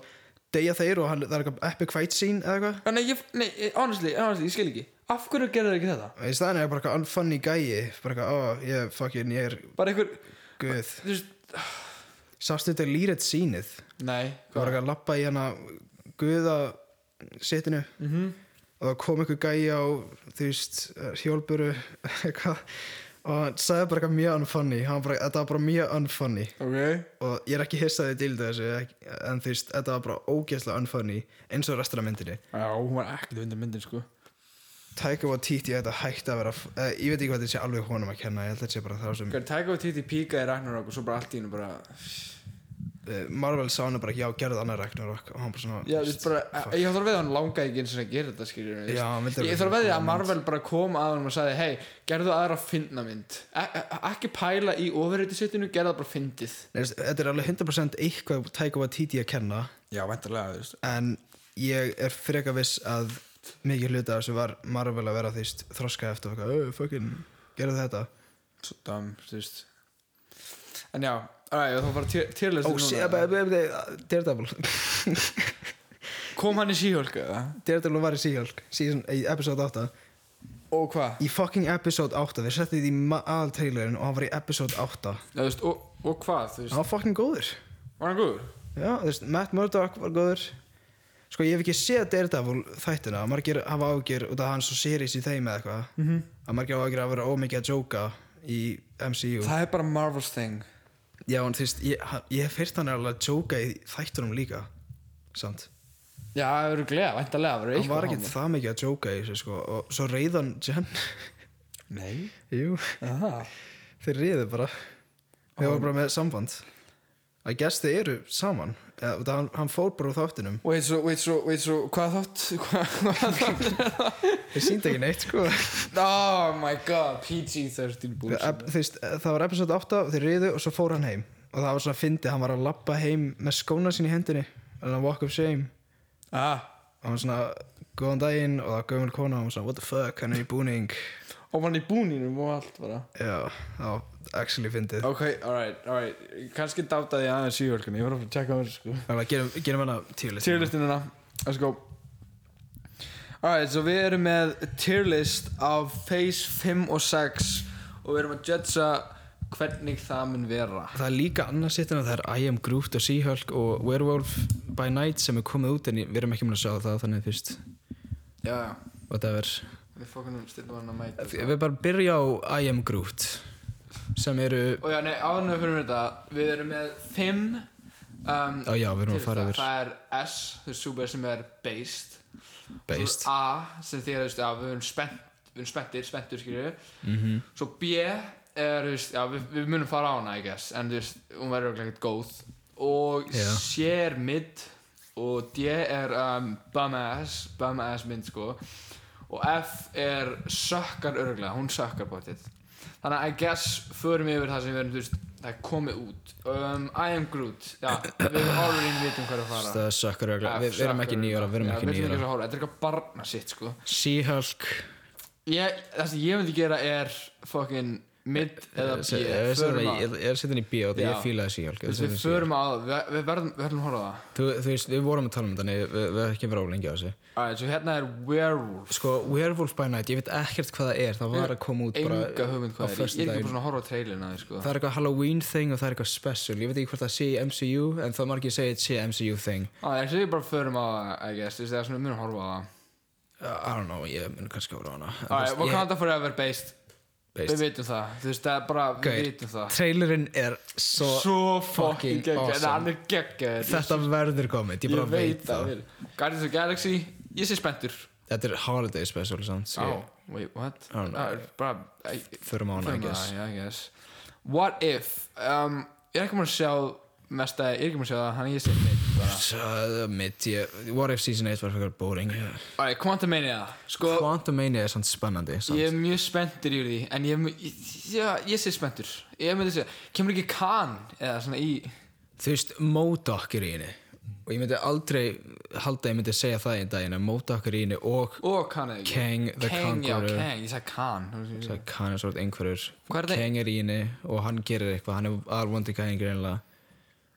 S1: deyja þeir og hann, það er eitthvað epic fight scene eða eitthvað
S2: Ah, Nei, ég, nei, eh, honestly, honestly, ég skil ekki Af hverju gerðu þeir ekki þetta?
S1: í staðin er bara eitthvað unfunny gæi bara eitthvað, oh, ég fucking, ég er
S2: Bara einhver,
S1: guð
S2: þú veist
S1: sástu þetta lýrætt sínið
S2: Nei,
S1: það var eitthvað að lappa í hana guða setinu
S2: Mhm.
S1: og það kom einhver gæi á þú veist, hjólburu eitthvað og hann sagði bara eitthvað mjög unfunny Hann bara, þetta var bara mjög unfunny
S2: Ok
S1: og ég er ekki hissaði til þessu ekki- en þú veist, þetta var bara ógeðslega unfunny eins og restur af myndinni
S2: Já, hún var ekkert undan myndin sko
S1: Taika Waititi þetta hægt að vera eh, ég veit ekki hvað þetta sé alveg honum að kenna ég held að þetta sé bara það sem
S2: Hver tæka á títi píka í Ragnarok og svo bara allt í hennu bara
S1: eh, Marvel sá hann bara já, gerðu annar Ragnarok og hann bara svona
S2: Já,
S1: þú
S2: þú veist bara
S1: fuck.
S2: Ég þarf að veða hann langaði ekki eins og að gera þetta skilur við, þú veist.
S1: já, hann vildi
S2: Ég
S1: vera-
S2: þarf að veðja að Marvel bara kom að hann og sagði Hei, gerðu aðra fyndna mynd E- e- Ekki pæla í ofurreitisettinu, gerða bara fyndið
S1: Nei, þú veist, þetta er alveg 100% eitthvað Taika Waititi að kenna
S3: já, vantarlega, þú veist
S1: en ég er freka viss að mikið hluti af þessu var Marvel að vera því þroska eftir og eitthvað, "Ö, fucking, gerðu þetta
S2: Svo dam, þú veist En já, alveg, þá bara týrlestu
S1: ó, sé, be- be- be- Daredevil
S2: Kom hann í síhjólka eða?
S1: Daredevil var í Seahulk, season, í episode 8
S2: Og hvað?
S1: í fucking episode 8 þeir settið því aðal trailerin og hann var í episode 8
S2: Já, þú veist, og, og hvað, þú
S1: hann
S2: veist
S1: var fucking góður
S2: Var hann góður?
S1: Já, þú veist, Matt Murdock var góður Sko, ég hef ekki séð Daredevil þættina Margir hafa ágjör út af hans og series í þeim eða eitthvað
S2: Mhm.
S1: -hmm. Að margir hafa ágjör að vera ómikið að jóka í MCU
S2: Það er bara Marvel's thing
S1: Já, en þú veist, ég, ha- ég hef fyrst hann alveg að jóka í þættunum líka Samt
S2: Já, það eru glega, væntalega verður
S1: Hann
S2: eitthvað
S1: var ekkert það mikið að jóka í þessu, sko Og svo reyðan Jen
S2: Nei
S1: Jú,
S2: Aha.
S1: þeir reyðu bara Þeir voru bara með samband Að gesti eru saman eða, út af hann, hann fór bara úr þáttunum
S2: Wait, so, wait, so, wait, so, hvað þátt? Hvað, hvað þátt?
S1: Þeir síndi ekki neitt, sko
S2: Oh my god,
S1: Ep,
S2: PG-13 bullshit
S1: þú veist, eh, það var episode 8 og þeir riðu og svo fór hann heim og það var svona fyndið, hann var að labba heim með skóna sín í hendinni en hann walk of shame
S2: Ah,
S1: og hann svona, góðan daginn og það var gömul kona og hann svona, what the fuck, hann er í búning
S2: og var hann í búninum og allt bara
S1: já, það var actually fyndið
S2: Ok, alright, alright Kanski dátaði ég aðeins síhjólkunni, ég var að fara að tjekka á þessu sko
S1: þannig að gerum, gerum hana tíulit
S2: Tierlistinuna, let's go Alright, svo við erum með tierlist af phase 5 og 6 og við erum að judsa hvernig það mun vera
S1: það er líka annað sittin að það er I am Groot og Seahulk og Werewolf by Night sem er komið út en ég- við erum ekki múin að sjá það þannig fyrst
S2: Já, já,
S1: whatever
S2: við um fókunum stillum hann að mæta
S1: við bara byrja á I am Groot sem eru,
S2: Og já, nei, áðurnum fyrir þetta, við erum með 5 um,
S1: á já, við erum
S2: til
S1: að fara
S2: það,
S1: yfir
S2: það er S, þú veist, super sem er based
S1: based
S2: Svo A sem þýðir, þú veist, já, við erum spennt við erum spenntir, spenntur, skilju
S1: mhm
S2: svo B er, þú veist, já, við, við munum fara á hana, I guess en þú veist, hún verður örugglega ekkert góð og
S1: Já.
S2: C er mid og D er um, bum-ass, bum-ass mynd, sko og F er sökkar örglega, hún sökkar bóttið þannig að I guess förum yfir það sem við erum, þú veist, það er komið út um, I am Groot, já, við erum already vitum hvað er að fara
S1: Það sökkar auðvitað, við, við erum ekki nýjóra, við erum
S2: Já,
S1: ekki
S2: Ah, við erum
S1: nýjóra
S2: ekki að horfa, þetta er eitthvað barna sitt sko
S1: She-Hulk
S2: ég, það sem ég myndi gera er fucking mid
S1: Eh,
S2: eða B
S1: Ég er
S2: förum
S1: sittin-
S2: að-
S1: ég er sittin í B og því
S2: Já.
S1: ég fílaði She-Hulk ég
S2: þú veist, við
S1: sittin í
S2: förum á það, við, við verðum við verðum að horfa á það
S1: She-Hulk. Þú þú veist, við vorum að tala um þetta, nei, við við höfum ekki verið álengi á þessu
S2: alright, svo hérna er Werewolf
S1: Sko, Werewolf by Night, ég veit ekkert hvað það er, það var að koma út bara
S2: enga
S1: á
S2: hugmynd hvað það er, ég- ég er
S1: föstudaginn.
S2: ekki búin að horfa á trailin að þið sko
S1: Það er eitthvað Halloween thing og það er eitthvað special, ég veit ekki hvort það sé í MCU, en það margir segið sé MCU thing
S2: alright, svo við bara förum á það, I guess, þú veist, það er svona við munum að horfa á það
S1: Uh, I don't know, ég mun kannski ára hana En þú
S2: alright,
S1: veist, ég-
S2: Wakanda Forever based
S1: veist,
S2: við vitum það, þú veist, það er bara, við
S1: Gaur.
S2: vitum það
S1: Trailerinn er svo,
S2: svo fucking
S1: fucking
S2: geggjað, en
S1: awesome.
S2: hann er geggjað
S1: þetta verður komið, ég bara veit það
S2: Guardians of the Galaxy, ég sé spenntur
S1: Þetta er holiday special, sko. sant? Svo
S2: Oh,
S1: ég-
S2: wait, what?
S1: I don't know.
S2: Uh, bara, I,
S1: Förum á hana, I
S2: Förum að
S1: guess
S2: það, já, I guess What if um, Ég er ekki múin að sjá mesta Ég er ekki múin að sjá það, hann ég sé neitt bara.
S1: Uh, mitt, ég, What If Season 8 var fyrir boring
S2: Alright, Quantumania Sko,
S1: Quantumania er samt spennandi samt.
S2: ég er mjög spenntur yfir því En ég, mu- ég, já, ég sé spenntur Ég myndi segja, kemur ekki Khan Eða svona í
S1: Þú veist, Modoc er í henni og ég myndi aldrei halda að ég myndi segja það einn daginn að Modoc er í henni og
S2: Og Khan eða ekki
S1: Kang the
S2: Kang, já,
S1: Conqueror
S2: Kang, ég sagði Khan
S1: Svo Kang er svolítið einhverjur
S2: Hvað er það?
S1: Kang er í henni og hann gerir eitthvað hann er arvondi Kang greinlega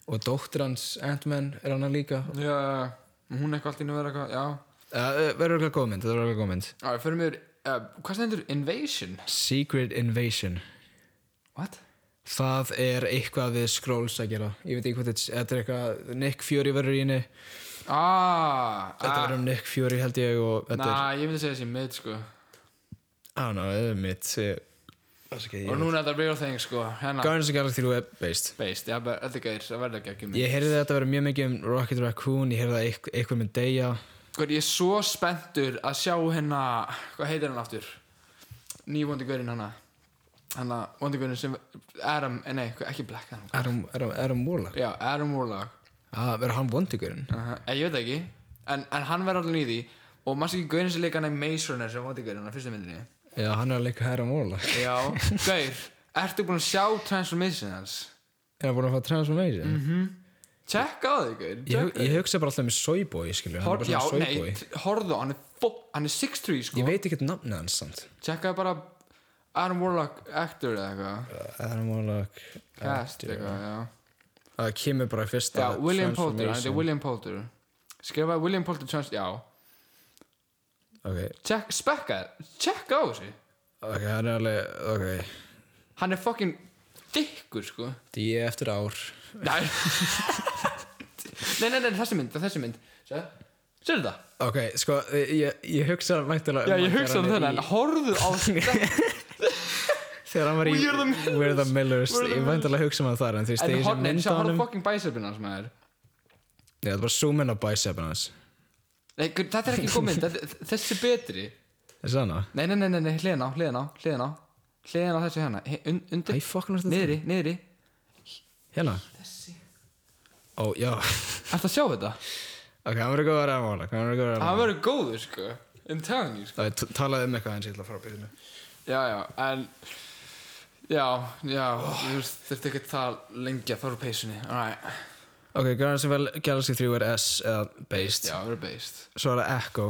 S1: og dóttir hans Ant-Man er hann líka uh,
S2: Já, hún eitthvað allt í nú verið eitthvað Já,
S1: uh, verður eitthvað góð mynd, þetta verður eitthvað góð mynd
S2: alright, förum yfir uh, Hvað stendur? Invasion?
S1: Secret Invasion
S2: What?
S1: Það er eitthvað við Skrulls að gera Ég veit ekki hvað þetta þetta er eitthvað Nick Fury verður í henni
S2: ah,
S1: Þetta
S2: ah,
S1: er um Nick Fury held ég og
S2: Næ,
S1: þetta er,
S2: ég myndi segja þessi mid sko
S1: I don't know, þetta er mitt ég- Það er ekki,
S2: Og
S1: ég
S2: núna er þetta real thing sko Hennar
S1: Guardians of the Galaxy 3 er based
S2: based, já, bara- þetta er gæðir, það verður ekki ekki mid
S1: Ég heyrði að þetta verið mjög mikið um Rocket Raccoon Ég heyrði að eitth- einhver mynd deyja
S2: Hvað Sko, ég er svo spenntur að sjá hérna Hvað heitir hann aftur? Ný vondigurinn hana Hanna, vondigurinn sem Adam, eh, nei, hvað- ekki Black Adam
S1: Adam, Adam, Adam Warlock
S2: Já, Adam Warlock
S1: Það Ah, verður hann vondugurinn
S2: uh Ég veit það ekki En, en hann verður allir í því Og maður sé ekki gaurin sem leika hann í Maze Runner sem vondigurinn á fyrstu myndinni
S1: Já, hann er að leika Adam Warlock
S2: Já, gaur, ertu búin að sjá Transformation hans?
S1: Er hann búin að fá Transformation?
S2: Tjekka á þig, gaur
S1: Mhm. Ég,
S2: tjekka á
S1: ég
S2: því.
S1: hugsa bara alltaf með Soyboy, skilju Hann er
S2: Hor,
S1: bara
S2: Já,
S1: svona
S2: nei,
S1: Soyboy
S2: t- horfðu, á, hann er, fó- hann er 6'3 sko
S1: Ég veit ekkert nafnið hans samt
S2: Tjekkaðu bara Adam Warlock actor eða eitthvað
S1: Uh, Adam Warlock
S2: Cast
S1: Actor.
S2: eitthvað, já
S1: Það kemur bara í fyrsta
S2: Já, William Poulter, hann
S1: Transformation.
S2: heitir William Poulter Skrifaði William Poulter trans, já
S1: Ok,
S2: Check, spekka, tjekka á þessu
S1: ok, hann er alveg, ok
S2: Hann er fucking þykkur, sko
S1: Því ég eftir ár
S2: Nei Nei, nei, nei, þessi mynd, þessi mynd Sér þetta?
S1: Ok, sko, ég, ég hugsa væntanlega
S2: Já,
S1: um
S2: ég
S1: að
S2: hugsa um
S1: þegar
S2: þennan,
S1: hann er
S2: horfðu á þetta
S1: í- Þegar hann var í
S2: We Are the Millers.
S1: We're the Millers
S2: We're the
S1: Ég væntanlega hugsa um hann þar En þú veist,
S2: En
S1: þegar ég sem
S2: horfðu,
S1: mynd
S2: sjá,
S1: á
S2: horfðu
S1: honum
S2: fucking bæsöpinn hans maður
S1: Ég ætla bara að zooma inn á bicep hans
S2: Nei, gu- þetta er ekki góð mynd, þetta- þessi er betri
S1: Þessi hana
S2: Nei, nei, nei, nei, nei, hliðin á, hliðin á, hliðin á Hliðin á þessu hérna, Hi- un-
S1: Æ,
S2: undir,
S1: fuck, hann er þetta
S2: niðri, niðri
S1: Hérna
S2: Þessi
S1: Ó, já
S2: Ertu að sjá þetta?
S1: Ok, hann verður góður að mála Hann verður góður að
S2: Það
S1: mála
S2: verður góður, sko I'm telling you, sko
S1: Það er t- talað um eitthvað eins ég ætla að fara að byrja
S2: Já, já, en Já, já, þú veist, þurfti ekki að tala lengi að fara úr peysunni Alright,
S1: Ok, Guardians of the Galaxy 3 er S eða based
S2: já, verður based
S1: Svo er það Echo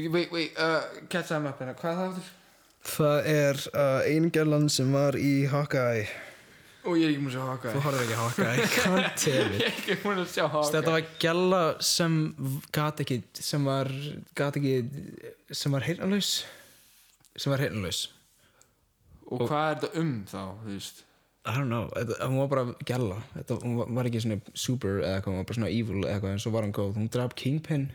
S2: Wait, wait, uh, catch them up hérna, hvað er það aftur?
S1: Það er uh, Eingerland sem var í Hawkeye
S2: Ó, ég er ekki múin að sjá Hawkeye
S1: Þú horfður ekki á Hawkeye, can't tell
S2: Ég
S1: it
S2: er ekki múin að sjá Hawkeye
S1: Þetta var gæla sem gat ekki sem var gat ekki sem var heyrnalaus sem var heyrnalaus
S2: Og hvað er þetta um þá, þú veist?
S1: I don't know, þetta, hún var bara gæla þetta, hún var- var ekki svona super eða eitthvað, hún var bara svona evil eða eitthvað en svo var hún góð, hún draf Kingpin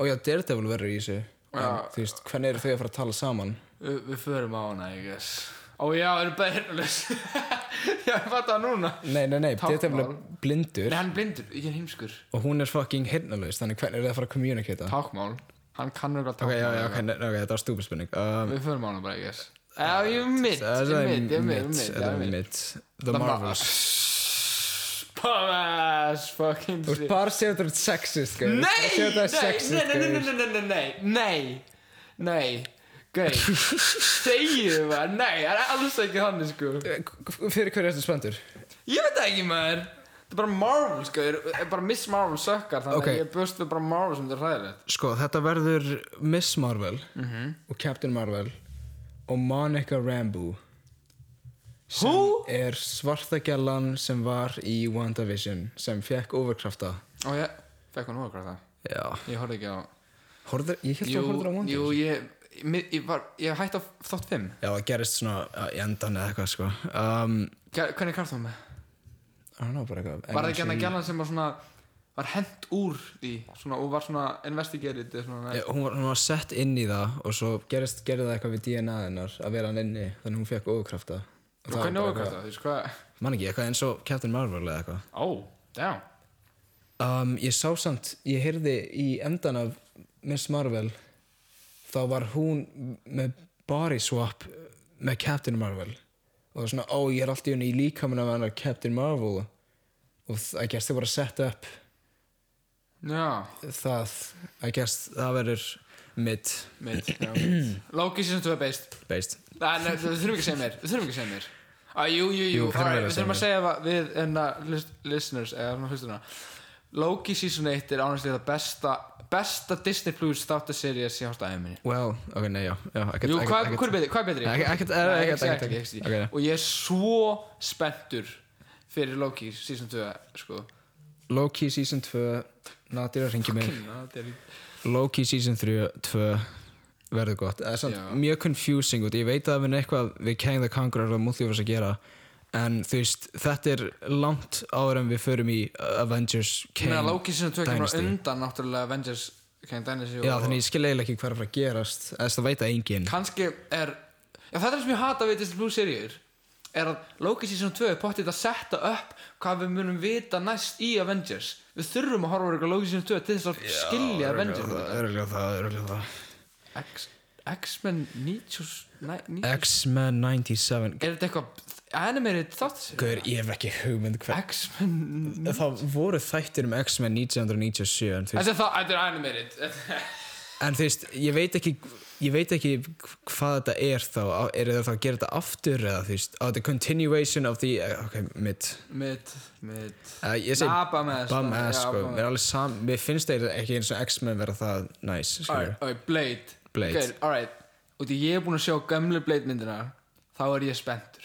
S1: og já, Daredevil verður í þessu en,
S2: Já.
S1: þú veist, hvernig eru þau að fara að tala saman
S2: Vi, við förum á hana, I guess Ó, já, erum bara heyrnulegs Já, ég fatt það núna
S1: Nei, nei, nei,
S2: Táknmál.
S1: Daredevil er blindur
S2: Nei, hann er blindur, ég er heimskur
S1: og hún er fucking heyrnalaus þannig hvernig eru þau að fara að communicata
S2: Tákmál, hann kannur
S1: Ok,
S2: eitthvað tákmál
S1: já, já,
S2: eða
S1: ok, ne- ok, þetta var stúpid spurning um,
S2: Við förum á hana bara, I guess Já, ég er mitt, ég er mitt, ég er mitt, ég er mitt
S1: mitt The Marvels
S2: Bum-ass fucking
S1: Þú ert
S2: shit
S1: bara að segja þetta er sexist sko. gauður. Bara
S2: Nei,
S1: að segja þetta er sexist, sko.
S2: nei, nei, nei,
S1: gauður.
S2: nei, nei, nei, nei, nei, nei, nei Gauð, segiðu maður, nei, það er alls ekki hann, sko
S1: Eh, K- Fyrir hverju ertu spöndur?
S2: Ég veit það ekki maður Það er bara Marvel, sko, er bara Miss Marvel sökkar Þannig
S1: Ok.
S2: að ég bjóst við bara Marvel sem þetta er hræðilegt
S1: Sko, þetta verður Miss Marvel
S2: Mhm.
S1: og Captain Marvel og Monica Rambeau
S2: Who?
S1: er svartagjallan sem var í WandaVision sem fekk overkrafta
S2: Ó, ég, fekk hún okkur það
S1: Já
S2: Ég horfði ekki á
S1: Horður, Ég held að horður á WandaVision
S2: jú, ég, ég, ég var, ég hætti á þátt 5
S1: Já, það gerist svona uh, í endan eða eitthvað sko um,
S2: Hvernig kallt hún með?
S1: I don't know, bara eitthvað
S2: Var það ekki hérna hann að gæla sem var svona Var hent úr því svona, Og var svona investigated eða svona,
S1: Já, Eh, hún var, hún var sett inn í það og svo gerist, gerði það eitthvað við DNA hennar að vera hann inni, þannig hún fekk ókrafta
S2: Og Hvernig okkur það? Þú veist hvað?
S1: Man ekki, eitthvað eins og Captain Marvel eða eitthvað
S2: Ó, damn
S1: um, Ég sá samt, ég heyrði í endan af Miss Marvel þá var hún með body swap með Captain Marvel og það var svona, ó, ég er alltaf í líkamann af hennar Captain Marvel og það gerst þau bara að setja upp
S2: Já,
S1: það, það gerst, það verður mid
S2: mitt já. Loki season 2 based
S1: based
S2: Nei, nei, við þurfum ekki að segja mér Við þurfum ekki að segja mér ah, Jú, jú, jú,
S1: Jú, þurfum
S2: alright,
S1: við að
S2: við þurfum að segja það við enna, list, listeners eða svona hlustuna Loki season 1 er ánægstlega það besta besta Disney Plus þáttaserja síðanst aðeins minni
S1: Well, ok, nei, já, já ekkert,
S2: Jú,
S1: ekkert-
S2: hvað
S1: ekkert-
S2: hvað er betri? Hvað er betri?
S1: Nei, ekkert- ekkert-
S2: Nei,
S1: ekkert-
S2: exactly,
S1: ekkert-
S2: exactly.
S1: ok, nei.
S2: Og ég er svo spenntur fyrir Loki season 2 sko.
S1: Loki season 2 Nadir að ringi mig
S2: Ég
S1: Loki season 3 2 verður gott, það er samt
S2: Já.
S1: mjög confusing út, ég veit að það er eitthvað við Kang the Conqueror og Multiverse að gera en þú veist, þetta er langt áður en við förum í Avengers
S2: Ég
S1: Kane
S2: meina Loki sinna tvö kemur á
S1: Dynasty.
S2: undan náttúrulega Avengers Kang Dynasty
S1: Já,
S2: og-
S1: þannig ég skil eiginlega ekki hvað er að fara að gerast eða þess að veita engin
S2: kannski er já, það er það sem ég hata við Disney Plus seríur er að Loki season 2 er pottið að setja upp hvað við munum vita næst í Avengers við þurfum að horfa á eitthvað Loki season 2 til þess að skilja Avengers
S1: Það er alveg það, er alveg það
S2: X- X-Men 90 næ- 90
S1: X-Men 97
S2: er þetta eitthvað animated þátt
S1: Guður, ég hef ekki hugmynd hver
S2: X-Men
S1: Það voru þættir um X-Men 1997 en þú veist,
S2: þetta er það- þetta er animated
S1: en þú veist, ég veit ekki ég veit ekki hvað þetta er þá Á- er það þá að gera þetta aftur eða þú veist, á þetta er continuation of the eh, ok, mitt
S2: mit mit
S1: uh, ég segi
S2: Ah, Bam-ass,
S1: Bam-ass,
S2: já,
S1: sko,
S2: Bam-ass.
S1: mér er alveg sam mér finnst það ekki eins og X-Men vera það næs, nice,
S2: alright, alright, Blade
S1: Blade.
S2: okay, alright og því ég er búin að sjá gamle Blade myndina þá er ég spenntur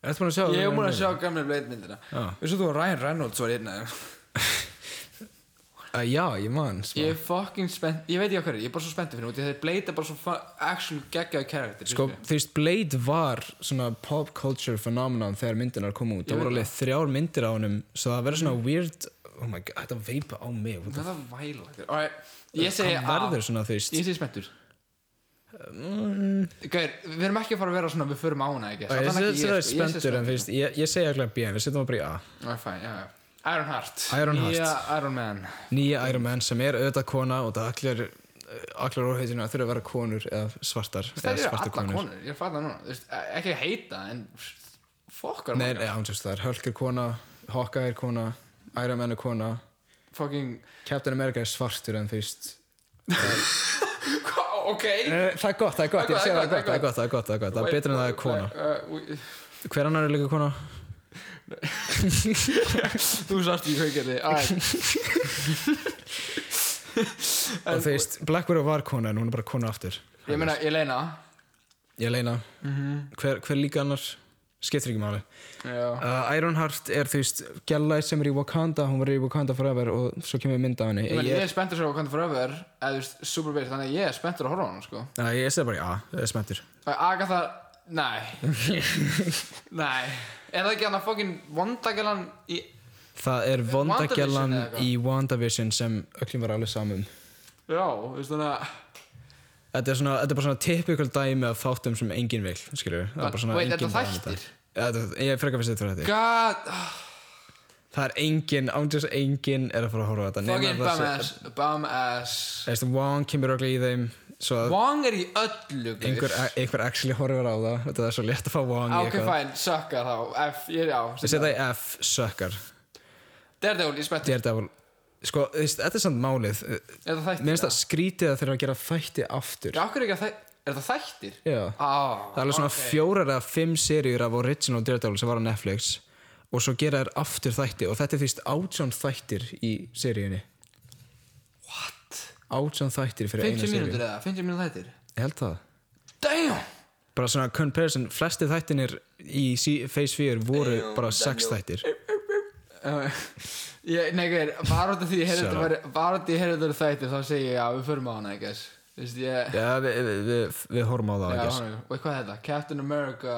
S1: Ertu búin að sjá
S2: ég er búin að sjá gamle Blade myndina
S1: Já.
S2: vissu þú að Ryan Reynolds var hérna
S1: Uh, já, ég man smá.
S2: ég er fucking spennt ég veit ekki okkur, ég er bara svo spenntur fyrir hún þegar Blade er bara svo fu- actual geggjaði karakter
S1: Sko, þú veist, Blade var svona pop culture phenomenon þegar myndinar kom út. Það voru alveg þrjár myndir á honum, svo það verður svona weird, oh my god, þetta veipa á mig. what the
S2: það er væla alright, ég segi
S1: Hann verður svona, þú veist. mm,
S2: ég segi spenntur Gauir, við erum ekki að fara að vera svona við förum á hana ekki sko,
S1: Ég, ég, ég, ég, ég spenntur, en þú veist, ég, ég segi ekki að B, við setjum að bara í A.
S2: veist Iron Heart
S1: Iron Heart.
S2: Nýja Iron Man
S1: Nýja Iron Man sem er auðvitað kona og það allir, eh, allir orðheitinu þurfa að vera konur eða svartar.
S2: það
S1: eða
S2: eru
S1: svartar
S2: alla konur, ég er fatta núna Þú veist, e- ekki að heita en fokkar
S1: Nei, já, hún sést það er Hulk er kona, Hawkeye er kona, Iron Man er kona,
S2: fucking
S1: Captain America er svartur en þú veist,
S2: ok
S1: Eh, Það er gott, það er gott, ég sé það er gott, það er gott, það er gott, það er gott, það er betur en það er kona. Hver annar er líka kona?
S2: þú sást í haugandi
S1: Og þú veist, Black Widow var kona en hún er bara kona aftur.
S2: ég meina, ég leina
S1: Ég leina, hver, hver líka annars? Skiptir ekki máli.
S2: já,
S1: Uh, Ironheart er þú veist, Gjalla sem er í Wakanda, hún var í Wakanda forever og svo kemur mynd af henni.
S2: ég, meina, ég
S1: Ég,
S2: er spenntur svo hvernig forever eða þú veist, Superbase, þannig að ég er spenntur að horfa á hann sko.
S1: uh, ég sé það bara í A, það er smettur.
S2: Að Agatha, nei nei, er það ekki hann að fokkin vondagjalan í
S1: Það er
S2: WandaVision
S1: Vondagjallan
S2: eða eitthvað?
S1: í WandaVision sem öllum var alveg samum.
S2: já, þú veist þannig að
S1: Þetta er, svona, þetta er bara svona typical dæmi af þáttum sem enginn vil, skilur við.
S2: But wait, þetta
S1: um
S2: þættir?
S1: Ég frekar fyrst þetta þættir.
S2: god, ah,
S1: Það er engin, ándjós engin er að fara að horfa á þetta nema
S2: fokkin
S1: það sé-
S2: bum-ass bum-ass
S1: Þú veist, Wong kemur okkur í þeim Svo að
S2: Wong er í öllu guys.
S1: einhver, einhver actually horfir á það Þetta er svo létt að fá Wong í
S2: ok, fæn, sökkar þá F,
S1: Ég
S2: ég, já,
S1: setja í F, sökkar
S2: Daredevil, ég er spenntur
S1: Daredevil Sko, þú veist, þetta er samt málið
S2: Er það þættir?
S1: Mér finnst það skrítið að þeirra að gera þætti aftur
S2: Já, okkur ekki að þæ... Er það þættir?
S1: Já
S2: Á,
S1: Það er alveg svona fjórar eða fimm seríur af original Daredevil sem var á Netflix og svo gera þær aftur þætti og þetta er fyrst átján þættir í seríunni
S2: What?
S1: Átján þættir fyrir eina
S2: 50
S1: seríu
S2: mínútur eða? 50 mínútur þættir?
S1: Ég held það
S2: Damn!
S1: bara svona comparison, flesti þættinir í sí- Phase 4 voru bara sex þættir
S2: Uh, ég, nei, gæir, bara út af því ég heyrði þetta væri- bara út af því ég heyrði þetta væri þættir þá segi ég að við förum á hana, I guess Þú veist, ég...
S1: Já, við, við, við, við horfum á það
S2: Já,
S1: ekki
S2: hana, og hvað er þetta? Captain America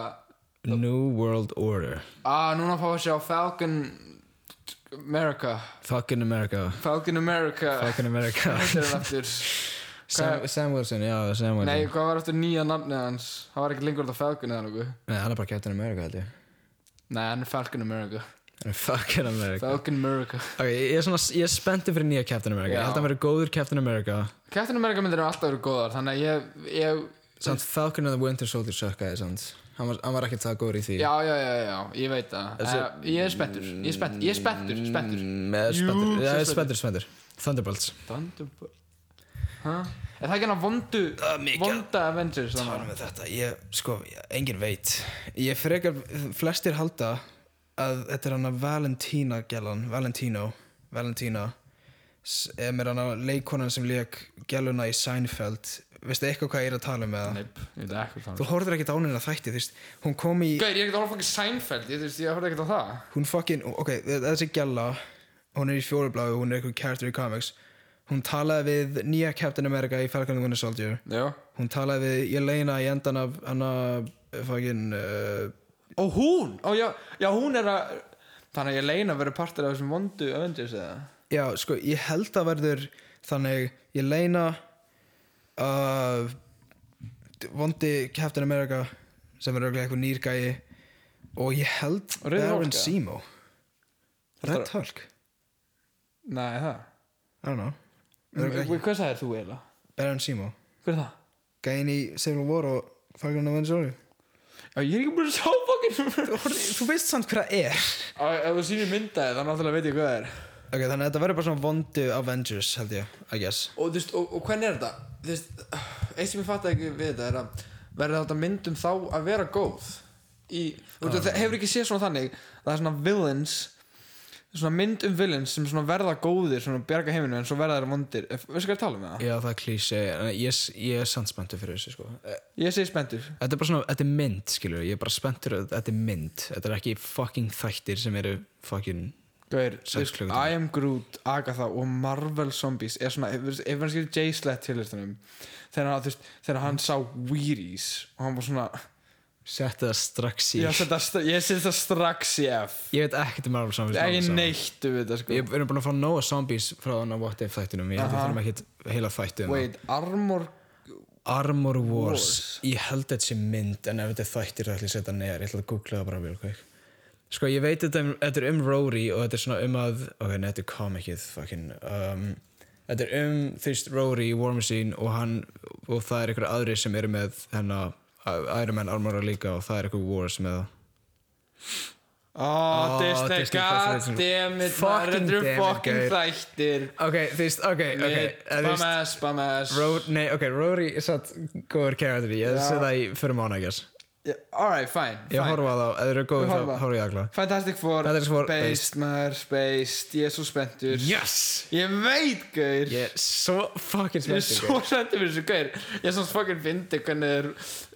S1: New World Order
S2: Ah, núna fá að sjá Falcon America
S1: Fucking America
S2: Falcon America
S1: Fucking America
S2: Þetta er hann aftur
S1: Sam, Sam Wilson, já, Sam Wilson
S2: Nei,
S1: Nei,
S2: hvað var aftur nýja nafnið hans? Það var ekki lengur þetta Falcon eða nokkuð
S1: hann er bara Captain America held ég
S2: Nei, hann er Falcon America
S1: Hann er Fucking America
S2: Falcon America
S1: Ok, ég er, svona, ég er spennti fyrir nýja Captain America
S2: Já.
S1: Ég held að hann verið góður Captain America
S2: Captain America myndir eru alltaf verið góðar þannig að ég, ég
S1: Samt Falcon and the Winter Soldier sökkaði samt Hann var, hann var ekkert það góður í því
S2: já, já, já, já, ég veit það
S1: Þessi- Mm,
S2: Eh, Ég er spenntur, ég er spenntur, ég er spenntur, spenntur
S1: Með
S2: Jú,
S1: spenntur,
S2: sem
S1: já,
S2: spenntur.
S1: spenntur, spenntur Thunderbolts
S2: Thunderbolt Hæ? Er það ekki hann að vondu
S1: Það er mikið að
S2: vonda Avengers
S1: tala
S2: þannig?
S1: með þetta ég, sko, ég- enginn veit ég frekar, flestir halda að þetta er hann að Valentina gælan, Valentino Valentina sem er hann að leikonan sem leik gæluna í Seinfeld veistu eitthvað hvað ég er að tala um með það
S2: Nei, ég veit ekki hvað
S1: þú horfður ekkert á hennar þætti, þú veist hún kom í,
S2: Gauð, ég er ekki að horfa fokkin Seinfeld, ég þú veist, ég horfði ekkert á það
S1: hún fucking ok, þessi gæla, hún er í fjólubláu hún er eitthvað character í comics hún talaði við nýja Captain America í Falcon and the Winter Soldier
S2: Já
S1: hún talaði við Jelena í endan af hana fucking uh,
S2: og hún, og já, já hún er að þannig að ég leina verið partur af þessum vondu Avengers eða
S1: Já, sko, ég held að verður þannig, ég leina uh, vondi Captain America sem er auðvitað eitthvað nýrgæi og ég held
S2: Og Rauði Hulk,
S1: Baron
S2: eða?
S1: Simo
S2: Þetta-
S1: Red Hulk
S2: nei það
S1: I don't know Örugglega ekki.
S2: Wait, hvað sagðir þú eiginlega?
S1: Baron Simo
S2: Hver er það?
S1: Gæin í Civil War og Falcon and Winter Soldier
S2: Já, ég er ekki búin að sjá fokkin
S1: Þú veist samt hvað það er
S2: Á, Ef þú sýnir myndaði þá náttúrulega veit ég hvað það er
S1: Ok, þannig að þetta verður bara svona vondu Avengers held ég, I guess
S2: og, þú veist, og, og hvernig er þetta? Þú veist, eitt sem ég fatt ekki við þetta er að verður þetta myndum þá að vera góð í, þú veist, það hefur ekki séð svona þannig það er svona villains svona mynd um villains sem svona verða góðir svona bjarga heiminu en svo verða þeirra vondir Eh, veistu hvað ég er að tala um það?
S1: Já, það er klísi, en ég, ég er samt spenntur fyrir þessu sko
S2: Ég segi spenntur
S1: Þetta er bara svona, þetta er mynd, skilur Ég er bara spenntur að þetta er mynd Þetta er ekki fucking þættir sem eru fucking
S2: Gauir,
S1: Sex klukkutíma.
S2: I am Groot, Agatha og Marvel Zombies er svona, ef ef hann skilur Jay Slett til þessum þegar, hann- þú veist, þegar hann sá Weeries og hann var svona
S1: Sett það strax í
S2: ég set það stra- ég set það strax í F
S1: Ég veit ekkert um Marvel Zombies
S2: ekki
S1: Marvel Zombies.
S2: neitt um þetta sko
S1: Ég við erum búin að fá nóga zombies frá þannig að What If þættinum Ég held að
S2: Aha.
S1: þurfum ekkert heila þættu um það.
S2: Wait, Armor
S1: Armor Wars.
S2: Wars.
S1: Ég held þetta sé mynd En ef þetta er þættir þá ætlum ég að setja neðar Ég ætla að googla það bara mjög kveik Sko ég veit þetta, um- þetta er um Rory Og þetta er svona um að Ok, nei, þetta er komikið fucking um, Þetta er um fyrst Rory í War Machine Og, hann, og það er einhverja aðri sem eru með hennar Iron Man armora líka Og það er einhver Wars með það
S2: Oh,
S1: Oh,
S2: Disney,
S1: Disney Plus,
S2: goddammit
S1: Fucking
S2: Þetta eru
S1: damn it,
S2: fucking
S1: gaur.
S2: þættir
S1: Ok, þú veist, ok, ok eða þú veist-
S2: Bamass, bamass
S1: Ro nei, ok, Rory er satt góður kæraður ég
S2: Já.
S1: sé það í fyrir mánu, I guess
S2: Alright, fine,
S1: ég
S2: fine.
S1: horfa á þá, ef þeir eru
S2: Þú
S1: góður
S2: horfa.
S1: þá horfa ég allavega
S2: Fantastic Four,
S1: Fantastic Four,
S2: Based, maður, Based Ég er svo spenntur
S1: yes,
S2: Ég veit, gaur
S1: ég er svo fucking
S2: Ég er
S1: spenntur
S2: svo spenntur fyrir þessu, gaur Ég er svo fucking fyndi hvernig er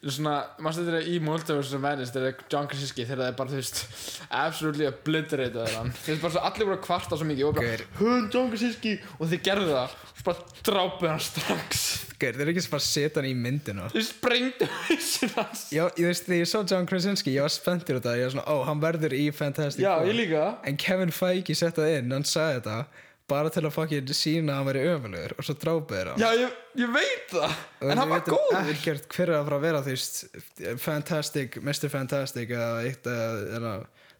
S2: svona, maður stendur í Multiverse sem verðist þegar John Krasinski þegar það er bara, þú veist absolutely obliterated að hann þeir bara svo allir voru að kvarta svo mikið og
S1: Gaur.
S2: bara, hún John Krasinski og þið gerðu það og bara drápuð hann strax
S1: Gaur, þeir eru ekki sem bara að setja hann í myndina
S2: þið sprengdu hausinn hans
S1: já, ég veist, þegar ég svo John Krasinski ég var spenntur út af það, ég var svona, ó, hann verður í Fantastic
S2: Já,
S1: Four.
S2: ég líka
S1: en Kevin Feige setti það inn, hann sagði þetta bara til að fucking sína að hann veri öfulegur og svo drápa þeir hann
S2: Já, ég, ég veit það
S1: Og
S2: En
S1: við
S2: hann var
S1: vitum
S2: góður
S1: ekkert hver er að fara að vera þú veist Fantastic, Mr. Fantastic eða eitt eða eða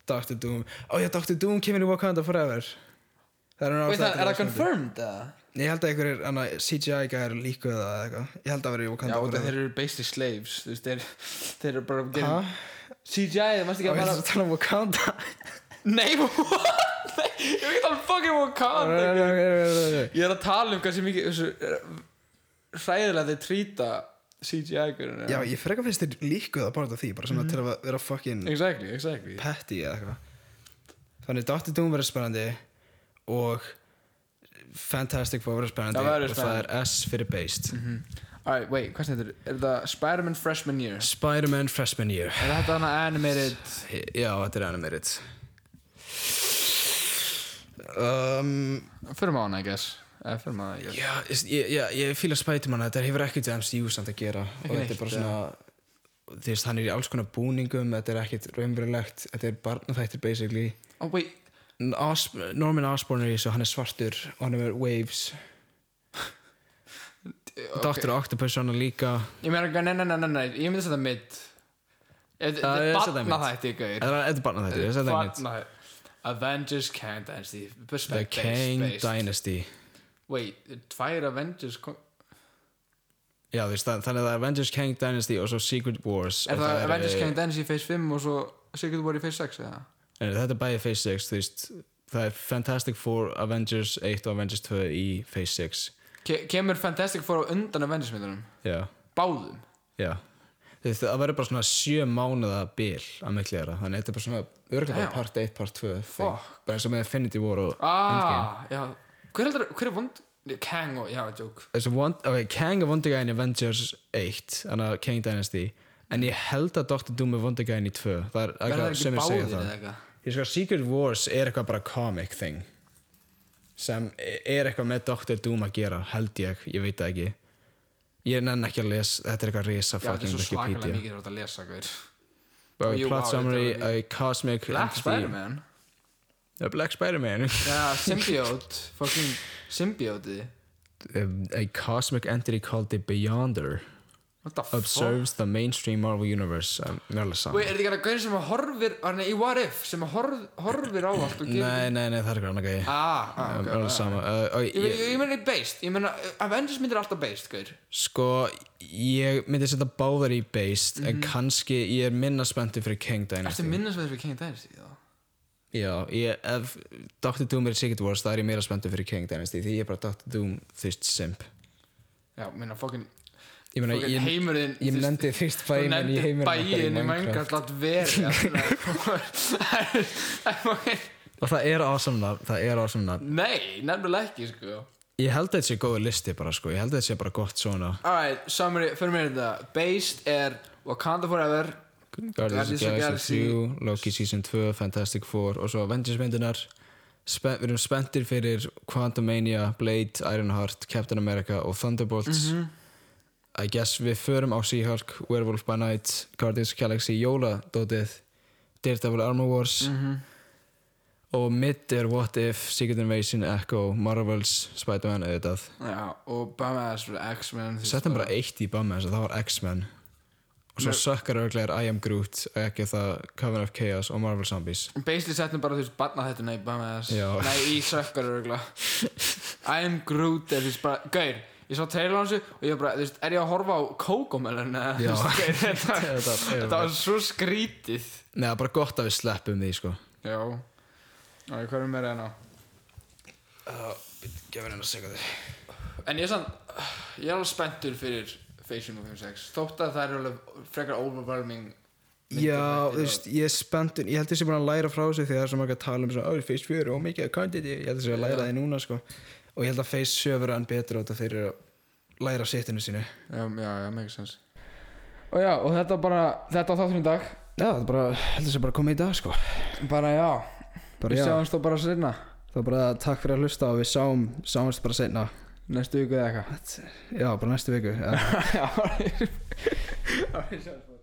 S1: Dr. Doom ó já, Dr. Doom kemur í Wakanda Forever Ah, það er hann
S2: Veit það, er það
S1: ástæðan til að-
S2: confirmed eða?
S1: ég held að einhverjir hana, CGI gæðar líku það eða eitthvað ég held að vera í
S2: Já,
S1: Wakanda
S2: út af þeir
S1: Forever
S2: eru basically slaves Þú veist, þeir, þeir eru bara
S1: ha?
S2: gerum, CGI, það mæst
S1: á
S2: ekki
S1: ég
S2: að
S1: þess
S2: bara
S1: að tala um Wakanda
S2: Nei, what? Nei, ég er ekki að tala um fucking Wakanda
S1: já,
S2: Ég er að tala um hversu mikið þessu, eh, hræðilega þeir trýta CGI-gurinn
S1: ég frekar finnst þeir líku það bara út af því bara svona til að vera fucking
S2: Exactly, exactly
S1: Petty eða eitthvað þannig Dr. Doom verður spennandi og Fantastic Four verður spennandi
S2: Það verður Mhm.
S1: og það er S fyrir based
S2: Alright, wait, hvað stendur? Er það Spider-Man Freshman Year?
S1: Spider-Man Freshman Year
S2: Er þetta hana animated?
S1: já, þetta er animated um,
S2: Fyrir maður hana, I guess Eh, Eða fyrir maður, I guess
S1: já, ég, já, ég fíla Spider-Man þetta hefur ekkert við MCU samt að gera og þetta
S2: neitt,
S1: er bara svona þú veist, hann er í alls konar búningum þetta er ekkert raunverulegt, þetta er barnaþættir basically
S2: Oh, wait
S1: Os Norman Osborn er í þessu, hann er svartur og hann er með waves
S2: ok.
S1: Dr. Octopus hann er líka
S2: Ég meina, nei, nei, nei, nei, nei Ég myndi setja mid Eh, Þetta
S1: Já,
S2: þetta
S1: ég
S2: er
S1: setja mid.
S2: batna þætti, gauir
S1: Þetta er barna þetta, þetta er neitt
S2: Batna Eh, Avengers Kang Dynasty
S1: The
S2: Based,
S1: Kang
S2: based.
S1: Dynasty
S2: Wait, tvær Avengers kom-
S1: Já þú veist, það- þannig að það er Avengers Kang Dynasty og svo Secret Wars
S2: Er
S1: og
S2: það
S1: er,
S2: Avengers
S1: eh,
S2: Kang Dynasty í Phase 5 og svo Secret War í Phase 6 eða?
S1: nei, Eh, Þetta er bæði Phase 6, þú veist Það er Fantastic Four, Avengers 1 og Avengers 2 í Phase 6
S2: Ke kemur Fantastic Four á undan Avengers myndunum?
S1: Já,
S2: Báðum?
S1: já Þú veist, Það verður bara svona sjö mánuða bil að miklu þeirra, þannig að þetta er bara svona örgulega bara
S2: Damn.
S1: part 1, part 2
S2: Fuck.
S1: þing. bara eins og með Infinity War og
S2: Ah, já Hver heldur, hver er vond? Kang og, já, joke
S1: þessi vond, ok, Kang er vondigæðin í Avengers 1, þannig að Kang Dynasty en ég held að Dr. Doom er vondigæðin í 2 það er
S2: Verða
S1: eitthvað
S2: ekki
S1: sem ég
S2: báðir
S1: segja
S2: eða
S1: það
S2: eitthvað?
S1: ég sko, Secret Wars er eitthvað bara comic thing sem er eitthvað með Dr. Doom að gera held ég, ég veit það ekki ég nenn ekki að lesa, þetta er eitthvað risa
S2: Já, þetta er
S1: fucking
S2: svo svakalega
S1: Wikipedia
S2: mikið þarf að lesa, gaur
S1: But
S2: Jú,
S1: I plot
S2: vá,
S1: summary,
S2: þetta var
S1: a cosmic
S2: Black
S1: entity.
S2: Spider-Man
S1: Yeah, Black Spider-Man
S2: Já, symbiote Fucking symbiote
S1: Um, A cosmic entity called the Beyonder
S2: What the fuck
S1: Observes the mainstream Marvel Universe um, Mér er alveg
S2: Wait,
S1: saman
S2: er þetta ekki hann að gauðin sem að horfir Hann er í What If Sem að horf, horfir á allt og gerir
S1: Nei, nei, nei, það er ekki annað gæði
S2: Ah, ah,
S1: Mér
S2: ok
S1: er alveg saman uh, og
S2: Ég, ég,
S1: ég-
S2: ég meina based, ég meina uh, Avengers myndir alltaf based, gauður
S1: Sko, ég myndi setja báðar í based En kannski ég er minna spenntur fyrir King Dynasty
S2: Mhm. Ertu minnast með þessu King Dynasty þá?
S1: Já, ég, ef Dr. Doom er í Secret Wars, það er ég meira spenntur fyrir King Dynasty Því ég er bara Dr. Doom þvist simp
S2: Já, meina fucking,
S1: Ég meina,
S2: fucking
S1: ég,
S2: heimurinn
S1: ég
S2: þú veist,
S1: nefndi þvist
S2: Þú
S1: bæinn en ég
S2: nefndir
S1: heimur
S2: bæinn í Minecraft Látt veri allt-
S1: Og það er awesome nafn, það er awesome nafn
S2: Nei, nefnilega ekki sko
S1: Ég held að þetta sé góður listi bara sko, ég held að þetta sé bara gott svona
S2: Alright, summary, fyrir mér þetta Based er Wakanda Forever
S1: Guardians of the Galaxy 3, Loki Season 2, Fantastic Four og svo Avengers myndunar Spen, Við erum spenntir fyrir Quantumania, Blade, Ironheart, Captain America og Thunderbolts I guess við förum á She-Hulk, Werewolf by Night, Guardians of the Galaxy, Jóladótið, Daredevil Armor Wars og mitt er What If, Secret Invasion, Echo, Marvels, Spider-Man auðvitað
S2: Já, og Bamass X-Men þú veist,
S1: Settum bara eitt í bammi þess að það var X-Men og svo sökkar örglega er I Am Groot ekki það Coven of Chaos og Marvel Zombies
S2: Basically settum bara þú veist barna þetta Nei, Bamass
S1: Já.
S2: Nei, í sökkar örgla I am Groot er þú veist bara Gaur, ég sá trailer hans og ég bara, þú veist, er ég að horfa á Coco Melon eða, þú
S1: Já.
S2: veist, gaur, þetta,
S1: Þetta-
S2: þetta var svo skrítið
S1: Nei, það er bara gott að við sleppum því sko
S2: Já Ná, hvað er meira
S1: hérna?
S2: enná?
S1: Ah, Gefur hennar sig að því
S2: En ég er sann, ég er alveg spenntur fyrir Facial 56 Þótt að það er alveg frekar overwhelming myndir
S1: Já,
S2: eftir
S1: þú veist, ég er spenntun Ég held þessi búin að læra frá sig því það er svo margir að tala um svona, oh, Phase 4 og mikið að quantity Ég held þessi að læra því núna sko og ég held að Phase 7 verður enn betur út af þeir eru að læra sittinu sínu Já,
S2: Já, já, já, make sense Og já, og þetta bara, þetta á þáttum í dag
S1: það er bara, held þessi bara að koma í dag sko
S2: Bara já,
S1: bara,
S2: við
S1: já,
S2: sjáumst þá bara sérna
S1: Það er bara takk fyrir að hlusta og við sáum, sáumst bara seinna
S2: Næstu viku eða eitthvað
S1: Já, bara næstu viku Já
S2: Já, já, já